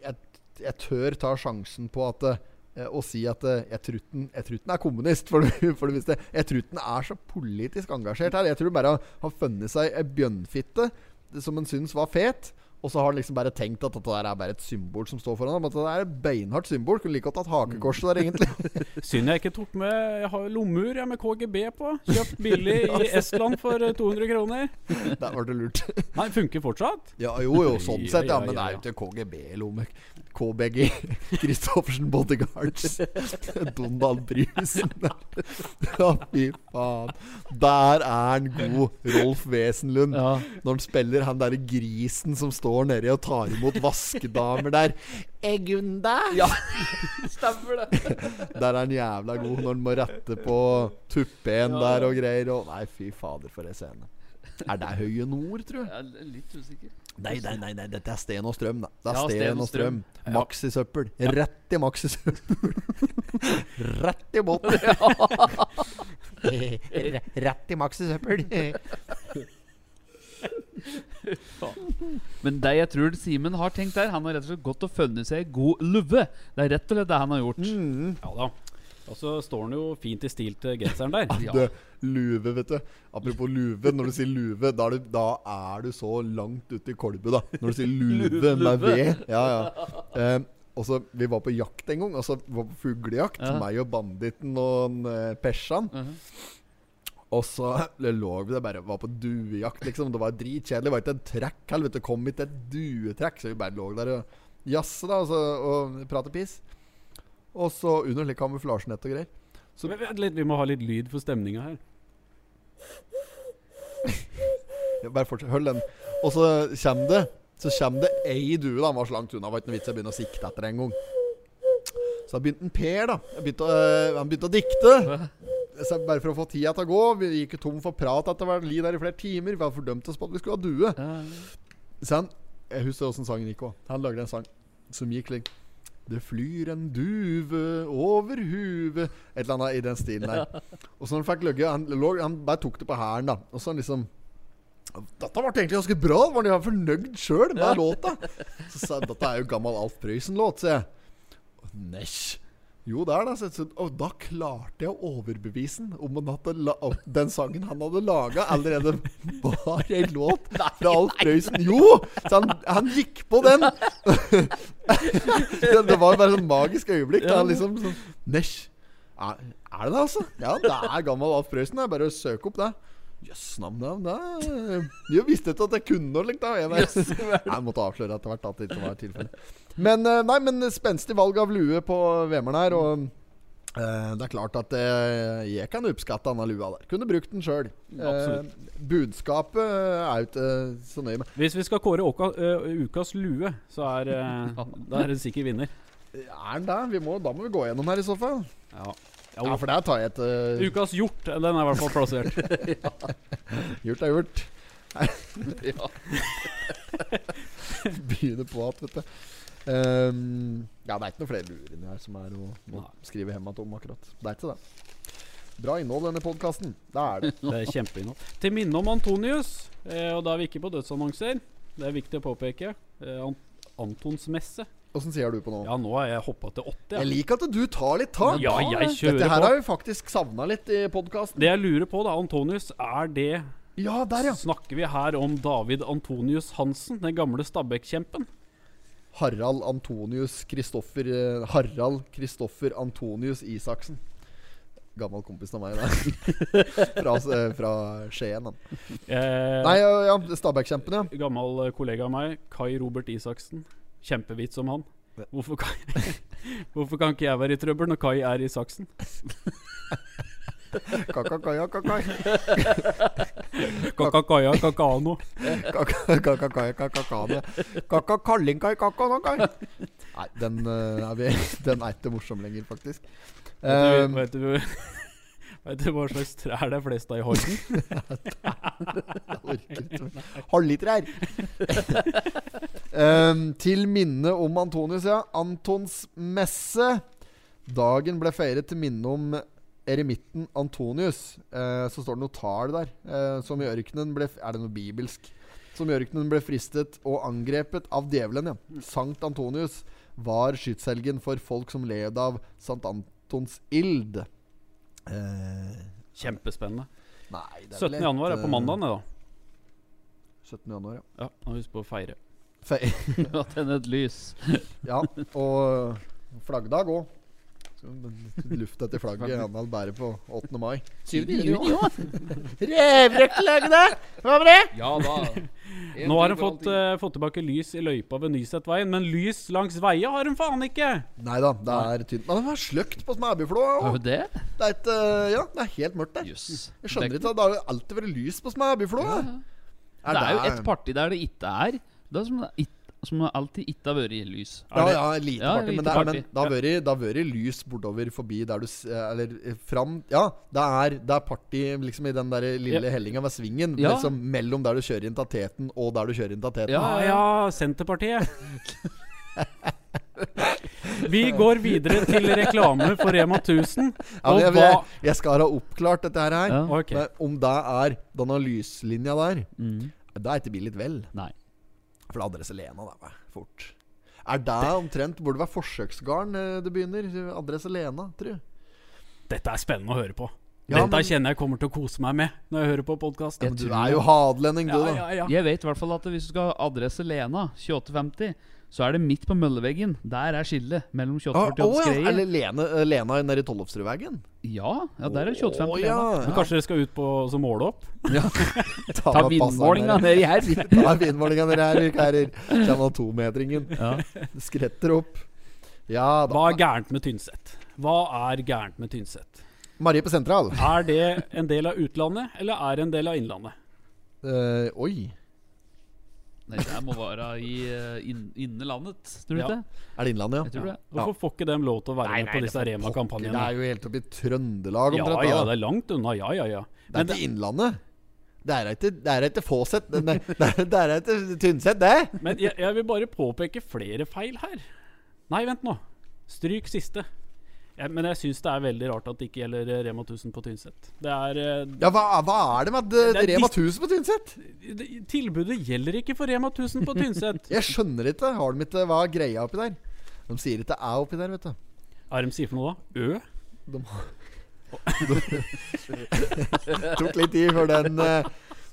A: jeg, jeg tør ta sjansen på at eh, å si at eh, jeg tror den, jeg tror den er kommunist, (laughs) for du, for du visste Jeg tror den er så politisk engasjert her. Jeg tror bare han har funnet seg ei bjønnfitte som han syns var fet. Og så har han liksom bare tenkt at dette der er bare et symbol som står foran ham. At det er et beinhardt symbol. Kunne like godt hatt hakekorset der, (laughs) egentlig.
C: (laughs) Synd jeg ikke tok med Jeg har jo lommeur jeg, med KGB på. Kjøpt (laughs) billig i Estland for eh, 200 kroner.
A: Der var det lurt.
C: Nei, funker fortsatt.
A: Ja, jo, jo, sånn
C: Ja,
A: sett, ja.
C: ja,
A: Men det er jo
C: ja,
A: ikke KGB-lomme. KBG. (laughs) Christoffersen (laughs) Bodyguards. Donald Brusen. Ja, fy faen. Der er han god, Rolf Wesenlund.
B: Ja.
A: Når han spiller han derre grisen som står nedi og tar imot vaskedamer der. Egunda!
B: ja. Stemmer det.
A: Der er han jævla god når han må rette på tuppen der og greier. Og nei, fy fader, for ei scene. Er det Høye Nord, tror jeg?
B: Jeg er litt usikker.
A: Nei, nei, nei, nei dette er Sten og Strøm, da. Det er
B: Ja,
A: Sten og Strøm. Maks i søppel. Rett i maks i søppel. (laughs) Rett i båten. R- (laughs) Rett i maks i søppel. (laughs)
B: Men det jeg tror Simen har tenkt der, han har rett og slett gått og funnet seg ei god lue. Det er rett og slett det han har gjort.
A: Mm.
C: Ja da. Og så står han jo fint i stil til genseren (laughs) der.
B: Ja.
A: Du, luve, vet du. Apropos luve. Når du sier luve, da er du, da er du så langt ute i kolbet, da. Når du sier luve med ved. Ja, ja. Eh, og så, Vi var på jakt en gang. Altså, vi var på Fuglejakt.
B: Ja.
A: Meg og banditten og uh, eh, Persan.
B: Mhm.
A: Og så (laughs) lå vi der bare og var på duejakt, liksom. Det var dritkjedelig. Det var ikke en trekk. Helvete, kom hit et duetrekk. Så vi bare lå der og jazza da, og, så, og prata piss. Og så under litt kamuflasjenett og greier.
C: Så vi, vi- vi må ha litt lyd for stemninga her.
A: Ja, Bare fortsett, hold den. Og så kommer det Så kommer det ei due, da. Han var så langt unna, var ikke noe vits i å begynne å sikte etter engang. Så da begynte en Per, da. Jeg Begynte, øh, han begynte å dikte. Så bare for å få tida til å gå. Vi gikk jo tom for prat etter hvert. Li der i flere timer. Vi hadde fordømt oss på at vi skulle ha due. Så han Jeg husker åssen sangen gikk òg. Han lagde en sang som gikk litt Det flyr en duve over huvet Et eller annet i den stilen der. Og så når han fikk løgge Han, lå- han bare tok det på hæren, da. Og så han liksom dette ble egentlig ganske bra. Var han fornøyd sjøl med låta? Så sa jeg dette er jo gammel Alf Prøysen-låt, sier jeg. Nesj. Jo, det er det. Så, så, og da klarte jeg å overbevise han om han hadde la, at den sangen han hadde laga, allerede var en låt fra Alf Prøysen. Jo! Så han, han gikk på den. (laughs) det, det var bare sånn magisk øyeblikk. Da, han liksom sånn Nesj. Er, er det det, altså? Ja, det er gammel Alf Prøysen. Det er bare å søke opp det. Jøss, navn, navn, da. Jeg visste ikke at jeg kunne noe slikt. da. Jeg, vet. jeg måtte avsløre etter hvert at det ikke var tilfellet. Men eh, nei, men spenstig valg av lue på Vemern her. Og eh, det er klart at eh, jeg kan oppskatte denne lua der. Kunne brukt den sjøl.
C: Absolutt.
A: budskapet er jo ikke eh, så nøye med.
C: Hvis vi skal kåre åka, ø, ukas lue, så er, (laughs) ø, da er det en sikker vinner.
A: Er den der? Vi må, da må vi gå gjennom her i så fall.
C: Ja.
A: Ja, for der tar jeg et eh,
C: Ukas hjort, den er i hvert fall plassert.
A: Gjort er
C: (laughs)
A: gjort. ja. (laughs) Begynner på at, vet du. Ehm, ja, det er ikke noen flere luer inni her som er å, å
C: Nei.
A: skrive hjem igjen om, akkurat. Det er ikke det. Bra innhold, denne podkasten. Det er (laughs)
C: (laughs)
A: det.
C: Det er kjempeinnhold. Til minne om Antonius, eh, og da er vi ikke på dødsannonser. Det er viktig å påpeke. Eh, An Antons messe.
A: Åssen sier du på nå?
C: Ja, nå har jeg hoppa til åtte.
A: Jeg
C: Ja.
A: liker at du tar litt tak.
C: Ja, jeg kjører
A: Dette her
C: på.
A: har vi faktisk savna litt i podkasten.
C: Det jeg lurer på, da, Antonius, er det
A: Ja, der, ja.
C: Snakker vi her om David Antonius Hansen, den gamle Stabæk-kjempen?
A: Harald Antonius Kristoffer eh, Harald Kristoffer Antonius Isaksen. Gammel kompis av meg, da. (laughs) fra, eh, fra Skien, han.
C: Eh,
A: Nei, ja, ja Stabæk-kjempen, ja.
C: Gammel eh, kollega av meg, Kai Robert Isaksen. Kjempevits om han. Hvorfor kan, (laughs) hvorfor kan ikke jeg være i trøbbel når Kai er Isaksen?
A: Kakakaja, kakakaja,
C: Kakakaia kakano.
A: kakakaja, kakakaja. Kakakallinkai, kakanakai. Nei, den eh, er, vi, (laughs) den er ikke morsom lenger, faktisk.
C: Vet du-
A: Um,
C: vet du (laughs) Vet du hva slags trær det er flest av i Horten?
A: Halvliter her. um, til minne om Antonius, ja. Antons messe. Dagen ble feiret til minne om eremitten Antonius. Eh, så står det noe tall der. eh, som i ørkenen ble f- Er det noe bibelsk? Som i ørkenen ble fristet og angrepet av djevelen, ja. Sankt Antonius var skytshelgen for folk som levde av Sankt Antons ild. Eh,
C: Kjempespennende.
A: nei, det er vel
C: 17. januar er
A: et,
C: på
A: eh,
C: mandagen, det, da.
A: 17. januar, ja.
C: Ja, og Husk på å
B: (laughs)
C: feire.
A: Fe
B: Å tenne et lys.
A: Ja, og flaggdag òg. Luft etter flagget Arendal bærer på 8. mai. 7. juni òg. Hva var det?
B: Ja da.
C: Nå har hun fått, eh, fått tilbake lys i løypa ved Nysetveien, men lys langs veia har hun faen ikke!
A: Nei da, det er tynt. Men det er sløkt på Smæbyflå
B: Er
A: òg.
B: jo det?
A: Det er et, eh, Ja, det er helt mørkt der.
B: Jøss.
A: Jeg skjønner ikke at det har alltid vært lys på Smæbyflå.
B: Det er jo et parti der det ikke er. Det er som, det ikke- som det alltid ikke har vært lys.
A: Ja, ja, lite
B: Ja,
A: party.
B: lite
A: Men det, er, men
B: party.
A: det har vært- det har vært lys bortover forbi der du s- Eller eh, fram Ja, det er, det er party liksom i den der lille
B: Ja.
A: hellinga ved svingen.
B: Ja.
A: Liksom mellom der du kjører inn til Teten, og der du kjører inn til Teten.
B: Ja,
C: Ja,
B: ja.
C: Ah, ja, Senterpartiet. Vi går videre til reklame for Rema
A: Ja,
C: 1000.
A: men
C: Og
A: jeg,
C: hva
A: jeg, jeg skal ha oppklart dette her.
B: Ja.
C: Ok. Mm.
A: Men om det er denne lyslinja der, da er ikke vi litt vel.
B: Nei.
A: For da adresse Lena, da. vel, Fort. Er det omtrent Burde være forsøksgarn eh, det begynner. Adresse Lena, tror jeg.
C: Dette er spennende å høre på.
A: Ja,
C: Dette
A: men-
C: kjenner jeg kommer til å kose meg med når jeg hører på podkast.
A: Ja, men du er jo hadelending, du,
C: ja,
A: da.
C: ja, ja.
B: Jeg vet i hvert fall at hvis du skal ha adresse Lena, 2850, så er det midt på mølleveggen. Der er skillet mellom
A: Å
B: 2840
A: Ah, å,
B: og
A: ja.
B: Skreie.
A: Eller Lene, eh, Lena nede i Tollefsrudvegen.
B: Ja, ja, der er 2850
A: Å,
B: Lena.
A: ja.
C: Men Kanskje dere skal ut på og så måle opp? (laughs)
A: Ta,
B: Ta
A: meg passeren
B: vindmålinga
A: der.
B: nedi her.
A: Ta vindmålinga dere her, vi karer. Kjenner tometringen.
B: Ja.
A: Skretter opp. Ja da.
C: Hva er gærent med Tynset? Hva er gærent med Tynset?
A: Marie på sentral.
C: Er det en del av utlandet, eller er det en del av innlandet?
A: Eh, oi.
B: Nei, det må være i eh, inn, innelandet, tror du
C: Ja.
B: ikke?
A: Er det Innlandet, ja?
B: Jeg tror det.
C: Hvorfor får ikke dem lov til å være
B: Nei,
C: med
B: nei,
C: på disse
A: Det
C: Rema-kampanjene?
A: er jo helt oppe i Trøndelag
C: Ja,
A: omtrent.
C: ja,
A: da.
C: det er langt unna. Ja, ja, ja.
A: Det er
C: Men,
A: ikke Innlandet. Det er ikke, det er ikke Fåset. Nei, Det er- det er ikke Tynset, det.
C: men jeg, jeg vil bare påpeke flere feil her. Nei, vent nå. Stryk siste. Ja, men jeg syns det er veldig rart at det ikke gjelder eh, Rema 1000 på Tynset. Det er eh,
A: Ja, hva, hva er det med at, eh,
C: Det er
A: Rema
C: dis-
A: 1000 på Tynset?
C: d- Tilbudet gjelder ikke for Rema 1000 på
A: (laughs)
C: Tynset.
A: Jeg skjønner ikke. Har de ikke hva er greia oppi der? De sier ikke æ oppi der, vet du.
C: Hva er det de sier for noe, da? Ø?
A: De har de, Tok litt tid før den eh,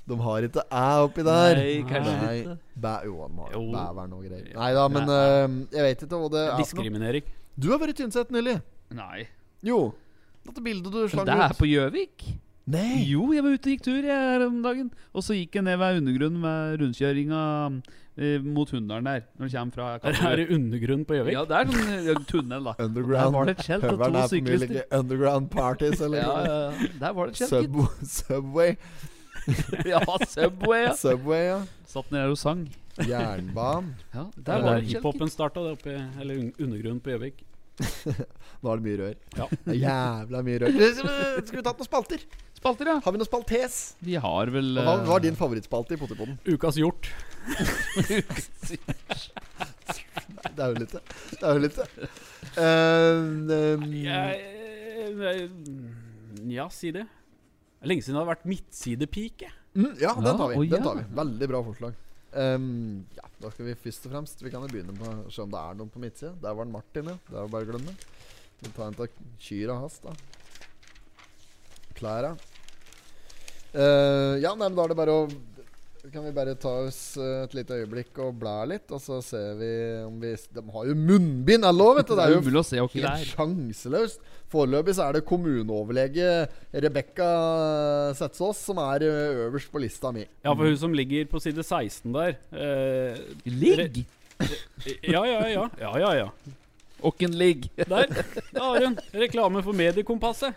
A: De har ikke æ oppi der.
B: Nei, kanskje
A: Nei.
B: ikke.
A: Bæ, jo, de har
C: Jo.
A: bævern og greier. Nei da, men eh, jeg vet ikke hva det er. for noe.
C: Diskriminering.
A: Du har vært i Tynset nylig.
B: Nei.
A: Jo. Dette bildet du slang
B: Det er
A: ut.
B: på Gjøvik.
A: Nei.
B: Jo, jeg var ute og gikk tur jeg, her om dagen. Og så gikk jeg ned ved undergrunnen med rundkjøringa eh, mot Hunndalen der. Når du kommer fra
C: (laughs) Er,
B: Kapperud.
C: er det undergrunn på Gjøvik?
B: Ja, det er sånn eh, tunnel, da.
A: Underground.
B: Der var det et skjelt og
A: Høveren er på
B: to
A: mye
B: syklister.
A: like Underground parties (laughs) eller
B: (laughs) Ja, ja, ja. Der var det et skjelt,
A: Sub Subway.
B: gitt. Ja, Subway, (laughs) ja.
A: Subway, ja.
B: Satt ned der og sang.
A: Jernbanen.
B: Ja,
C: Det
B: der var det et
C: var der
B: skjelt, gitt.
C: hiphopen starta, det oppe i- eller un- undergrunnen på Gjøvik.
A: Nå er det mye rør.
C: Ja.
A: Det er Jævla mye rør. Skal vi ta noen spalter?
B: Spalter, ja.
A: Har vi noen spaltes?
B: Vi har vel
A: Og Hva
B: eh,
A: var din favorittspalte i Pottipoden?
C: Ukas hjort.
A: Det er jo litt det. Det er jo litt det. Ehm, ehm,
C: eh, mm, Ja, si det. Det er lenge siden det har vært midtsidepike.
A: mm, ja, den
B: Ja,
A: tar vi.
B: å,
A: Den
B: ja.
A: tar vi. Veldig bra forslag. Ehm, ja, da skal vi først og fremst Vi kan jo begynne på å se om det er noen på midtsida. Der var den Martin, ja. Det er jo bare å glemme. Vi tar en av kyrne hans, da. Klæra. Eh, ja, nei, men da er det bare å Kan vi bare ta oss eh, et lite øyeblikk og bla litt, og så ser vi om vi De har jo munnbind, alle òg, vet du!
B: Det
A: Det er jo
B: umulig å se hva det
A: Helt
B: er.
A: sjanseløst. Foreløpig så er det kommuneoverlege Rebekka Setsås som er ø, øverst på lista mi.
C: Ja, for hun som ligger på side 16 der eh,
B: Ligg!
C: Ja, ja, ja. ja, ja, ja.
B: Åkken ligg.
C: Der da har hun reklame for Mediekompasset.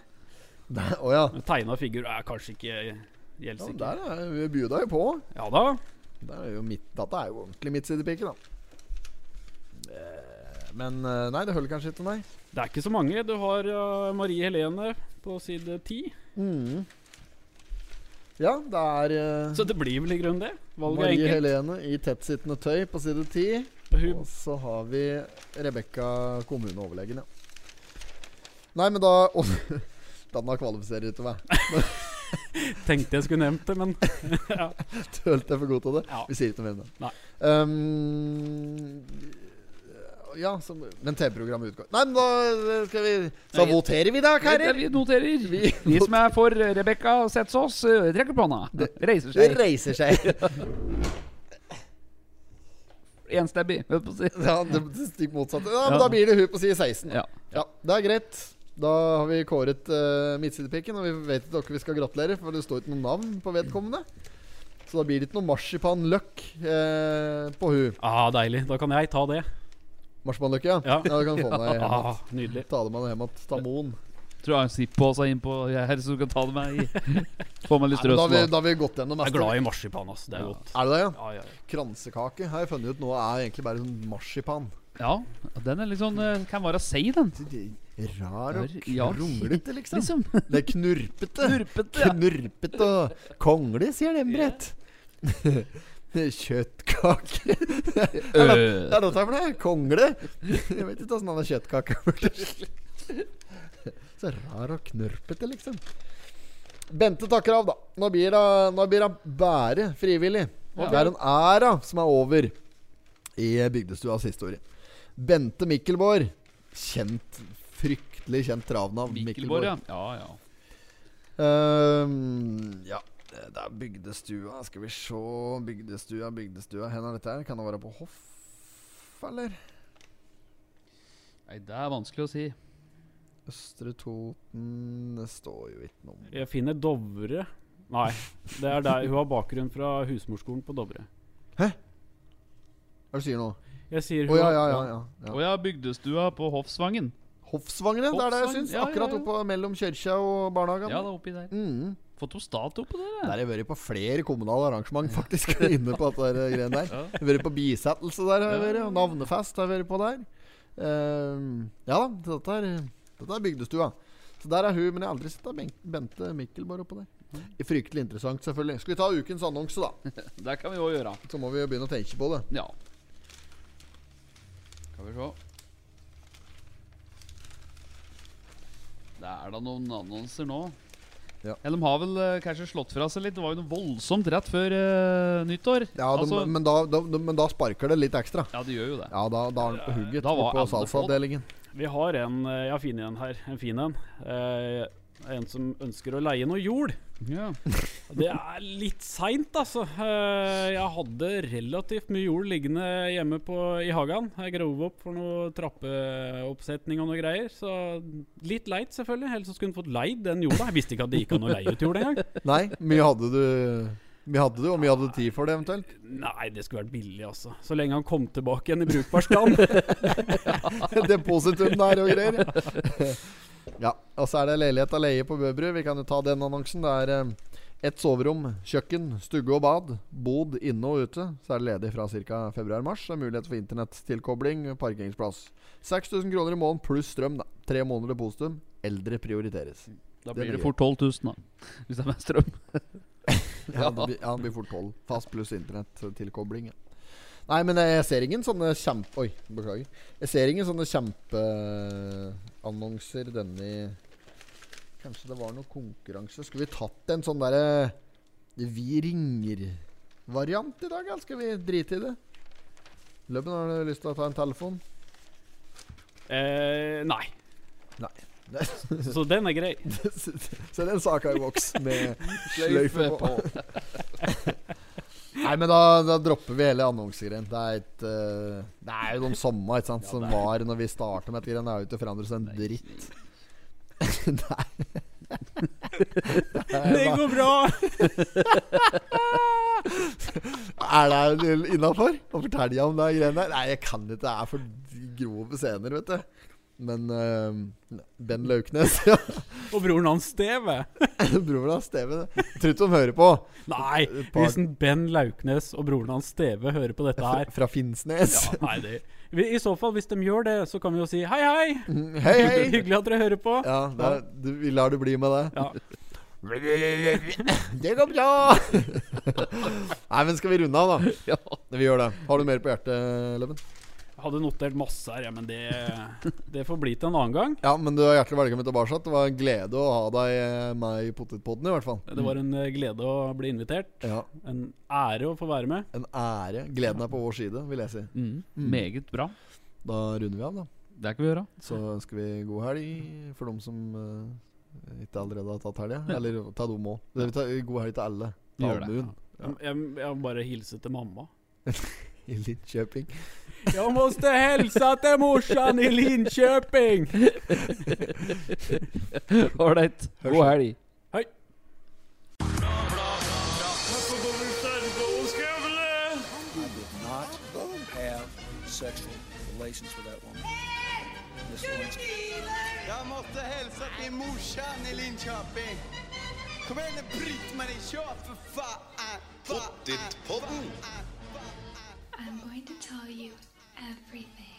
A: Å ja.
C: Tegna figur er kanskje ikke
A: ja.
C: gjeldsikker.
A: Der er vi bjuda jo på.
C: Ja da.
A: Der er jo mitt, dette er jo ordentlig midtsidepike, da. Eh, Men eh, nei, det holder kanskje ikke, nei.
C: Det er ikke så mange. Du har eh, Marie Helene på side 10.
A: Mm. Ja, det er eh,
C: Så det blir vel i grunnen det. Valget
A: Marie
C: er enkelt.
A: Helene i tettsittende tøy på side 10.
C: Og hun
A: Og så har vi Rebekka kommuneoverlegen, ja. Nei, men da (laughs) Åh, Denne kvalifiserer ikke meg. (laughs)
C: tenkte jeg skulle nevnt det,
B: (laughs)
C: men
A: Følte jeg for god til det.
C: Ja.
A: Vi sier ikke noe mer om det.
C: Nei.
A: Ehm, ja, så, men TV-programmet utgår. Nei, men da eh, skal vi Så
B: Nei.
A: voterer vi da,
B: Ja,
A: karer!
B: Vi noterer.
A: Vi-
B: De som er for Rebekka Setsås, eh, trekker på hånda. Reiser
A: Det
B: seg.
A: reiser seg. (laughs)
B: Enstemmig, holdt på å si.
A: Ja, det det stikk motsatte. Ja, men
B: Ja.
A: Da blir det hun på side 16.
B: Ja.
A: Ja, det er greit. Da har vi kåret uh, midtsidepikken, og vi vet ikke dere vi skal gratulere, for det står ikke noe navn på vedkommende. Så da blir det ikke noe marsipanløk eh, på hun.
C: ah, Deilig. Da kan jeg ta det.
A: Marsipanløk, ja.
C: Ja.
A: du kan få
C: (laughs)
A: den deg hjem.
C: Ah, nydelig.
A: Ta det med deg hjem igjen. Ta moen.
B: Tror jeg Sippo også er innpå her, så du kan ta det med i Få meg
A: Nei, men
B: litt strøssel.
A: Da har vi,
B: da.
A: da har vi gått gjennom
C: Jeg
A: meste.
C: er glad i marsipan, ass. Det er godt.
A: Er det det, ja?
C: Ja, ja, ja.
A: Kransekake har jeg funnet ut nå er egentlig bare sånn marsipan.
B: Ja, den er litt sånn eh, Kan være seig, den.
A: Rar og
B: Ja,
A: kronglete, liksom.
B: Liksom. (laughs)
A: Det er knurpete.
B: Knurpete. ja.
A: Knurpete og kongle, sier den, Brett. (laughs) Kjøttkake (laughs) Eller, Det
B: Øh,
A: er dette for noe? Kongle? Jeg vet ikke åssen han er kjøttkake. burde- Så rar og knurpete, liksom. Bente takker av, da. Nå blir hun nå blir hun bare frivillig.
B: Ja.
A: Det er en æra som er over i Bygdestuas historie. Bente Mikkelborg. Kjent, fryktelig kjent travnavn.
B: Mikkelborg, ja. ja, ja.
A: Ehm, ja, det er bygdestua. Skal vi se Bygdestua, bygdestua. Hvor er dette? her? Kan det være på Hoff, eller?
B: Nei, det er vanskelig å si.
A: Østre Toten Det står jo ikke noe om
C: Jeg finner Dovre Nei, det er der hun har bakgrunn fra husmorskolen på Dovre.
A: Hva er det du sier nå?
C: Jeg
A: Å
C: sier hun
A: ja,
C: har-
A: ja, ja. ja,
B: Å
A: ja.
B: ja, bygdestua på Hoffsvangen.
A: Hoffsvangene, det er det jeg
B: Hoffsvangen,
A: syns.
B: ja, ja,
A: Akkurat
B: ja.
A: oppå mellom kirka og
B: Ja,
A: barnehagen.
B: det er oppi der.
A: Mm.
B: Fått noe stat oppå der,
A: Der
B: jeg.
A: har jeg vært på flere kommunale arrangement, faktisk. (laughs) inne på at det der greiene der
B: Ja.
A: Jeg har vært på bisettelse der, har jeg vært. Og navnefest har jeg vært på der. Ehm, ja da, så dette er, dette er bygdestua. Så der er hun, men jeg har aldri sett Ben- Bente Mikkelborg oppå
B: Mm.
A: der. Fryktelig interessant, selvfølgelig. Skal vi ta ukens annonse,
B: (laughs)
A: da?
B: Det kan vi òg gjøre.
A: Så må vi jo begynne å tenke på det.
B: Ja. Skal vi se. Det er da noen annonser nå.
A: Ja.
B: Ja, de har vel eh, kanskje slått fra seg litt. Det var jo noe voldsomt rett før eh, nyttår.
A: Ja, de,
B: Altså-
A: men, da, da, men da sparker det litt ekstra.
B: ja, de gjør jo det.
A: Ja, da, da er han på hugget
B: Da var
A: oppe på
B: alle på, da.
A: salgsavdelingen.
C: Vi har en eh, Jeg har funnet en her. En fin en. Eh, en som ønsker å leie noe jord.
B: Ja.
C: Det er litt seint, altså. Eh, Jeg hadde relativt mye jord liggende hjemme på, i hagen. Jeg grov opp for noe trappeoppsetning og noe greier. Så litt leit, selvfølgelig. Ellers så skulle hun fått leid den jorda. Jeg visste ikke at det gikk an å leie ut jord engang.
A: Nei, mye hadde du Mye hadde du, og mye hadde du tid for det, eventuelt?
C: Nei, det skulle vært billig, altså. Så lenge han kom tilbake igjen i
A: (laughs)
C: brukbar stand.
A: Depositum der og greier. Ja, og så er det leilighet av leie på Bøbru. Vi kan jo ta den annonsen. Det er eh, ett soverom, kjøkken, stugge og bad. Bod inne og ute. Så er det ledig fra ca. februar-mars. Det er Mulighet for internettilkobling, parkeringsplass. 6000 kroner i måneden pluss strøm, da. Tre måneder depositum. Eldre prioriteres.
B: Da
A: Det
B: blir det
A: blir
B: fort 12 000, da. Hvis det er med strøm.
A: Ja, det blir, ja, det blir fort 12. Fast pluss internettilkobling. ja. Nei, men jeg ser ingen sånne kjempe... Oi, beklager. Jeg ser ingen sånne kjempeannonser denne Kanskje det var noe konkurranse? Skulle vi tatt en sånn derre Vi ringer-variant i dag, eller skal vi drite i det? Løbben, har du lyst til å ta en telefon?
C: Eh, nei.
A: Nei.
C: (laughs) Så den er grei.
A: (laughs) Se den saka i voks med sløyfe på. (laughs) Nei, men da, da dropper vi hele annonsegreien. Det, er et, eh, det er jo de samme ikke sant, som var når vi starta med dette. greiene. Det er jo ikke forandret seg en dritt. (laughs) Nei.
C: (laughs) Det går bra!
A: Er det innafor å fortelle deg om det greiene der? Nei, jeg kan ikke. Det er for grove scener, vet du. Men eh, Ben Lauknes (laughs) ja.
C: Og broren hans Steve.
A: Broren hans, Steven. Jeg tror ikke de hører på.
C: Nei,
A: Par-
C: hvis en Ben Lauknes og broren hans Steve hører på dette her
A: Fra Finnsnes.
C: ja, nei, det, vi, I så fall, hvis de gjør det, så kan vi jo si hei, hei!
A: Hei, hei!
C: Hyggelig at dere hører på.
A: Ja, det er, du, vi lar det bli med det.
C: Ja.
A: Det går bra! (laughs) Nei, men skal vi runde av, (laughs) da?
B: Ja.
A: Vi gjør det. Har du mer på hjertet, Løven?
C: Jeg hadde notert masse her, ja, men det, det får bli til en annen gang.
A: Ja, men du er hjertelig velkommen tilbake. Det var en glede å ha deg eh, med i Potetpodden, i hvert fall.
C: Det var en eh, glede å bli invitert.
A: Ja,
C: En ære å få være med.
A: En ære. Gleden er på vår side, vil jeg si.
B: Mm. Meget bra.
A: Da runder vi av, da.
B: Det kan vi gjøre.
A: Så ønsker vi god helg for dem som eh, ikke allerede har tatt helga. Eller ta dem òg. God helg til alle.
B: Vi gjør det.
A: Allmuen Ja.
C: Jeg, jeg, jeg må bare hilse til mamma.
A: i Linköping.
C: Jeg måste hilse til morsan i Linköping!
B: Ålreit. God helg.
C: Hei.
D: You did not have sexual relations with that woman. Miss Lewinsky.
E: Jag måste hälsa till morsan i Linköping. Kom igen nu Britt-Marie, kör för fan! Fa-
F: I'm going to tell you everything.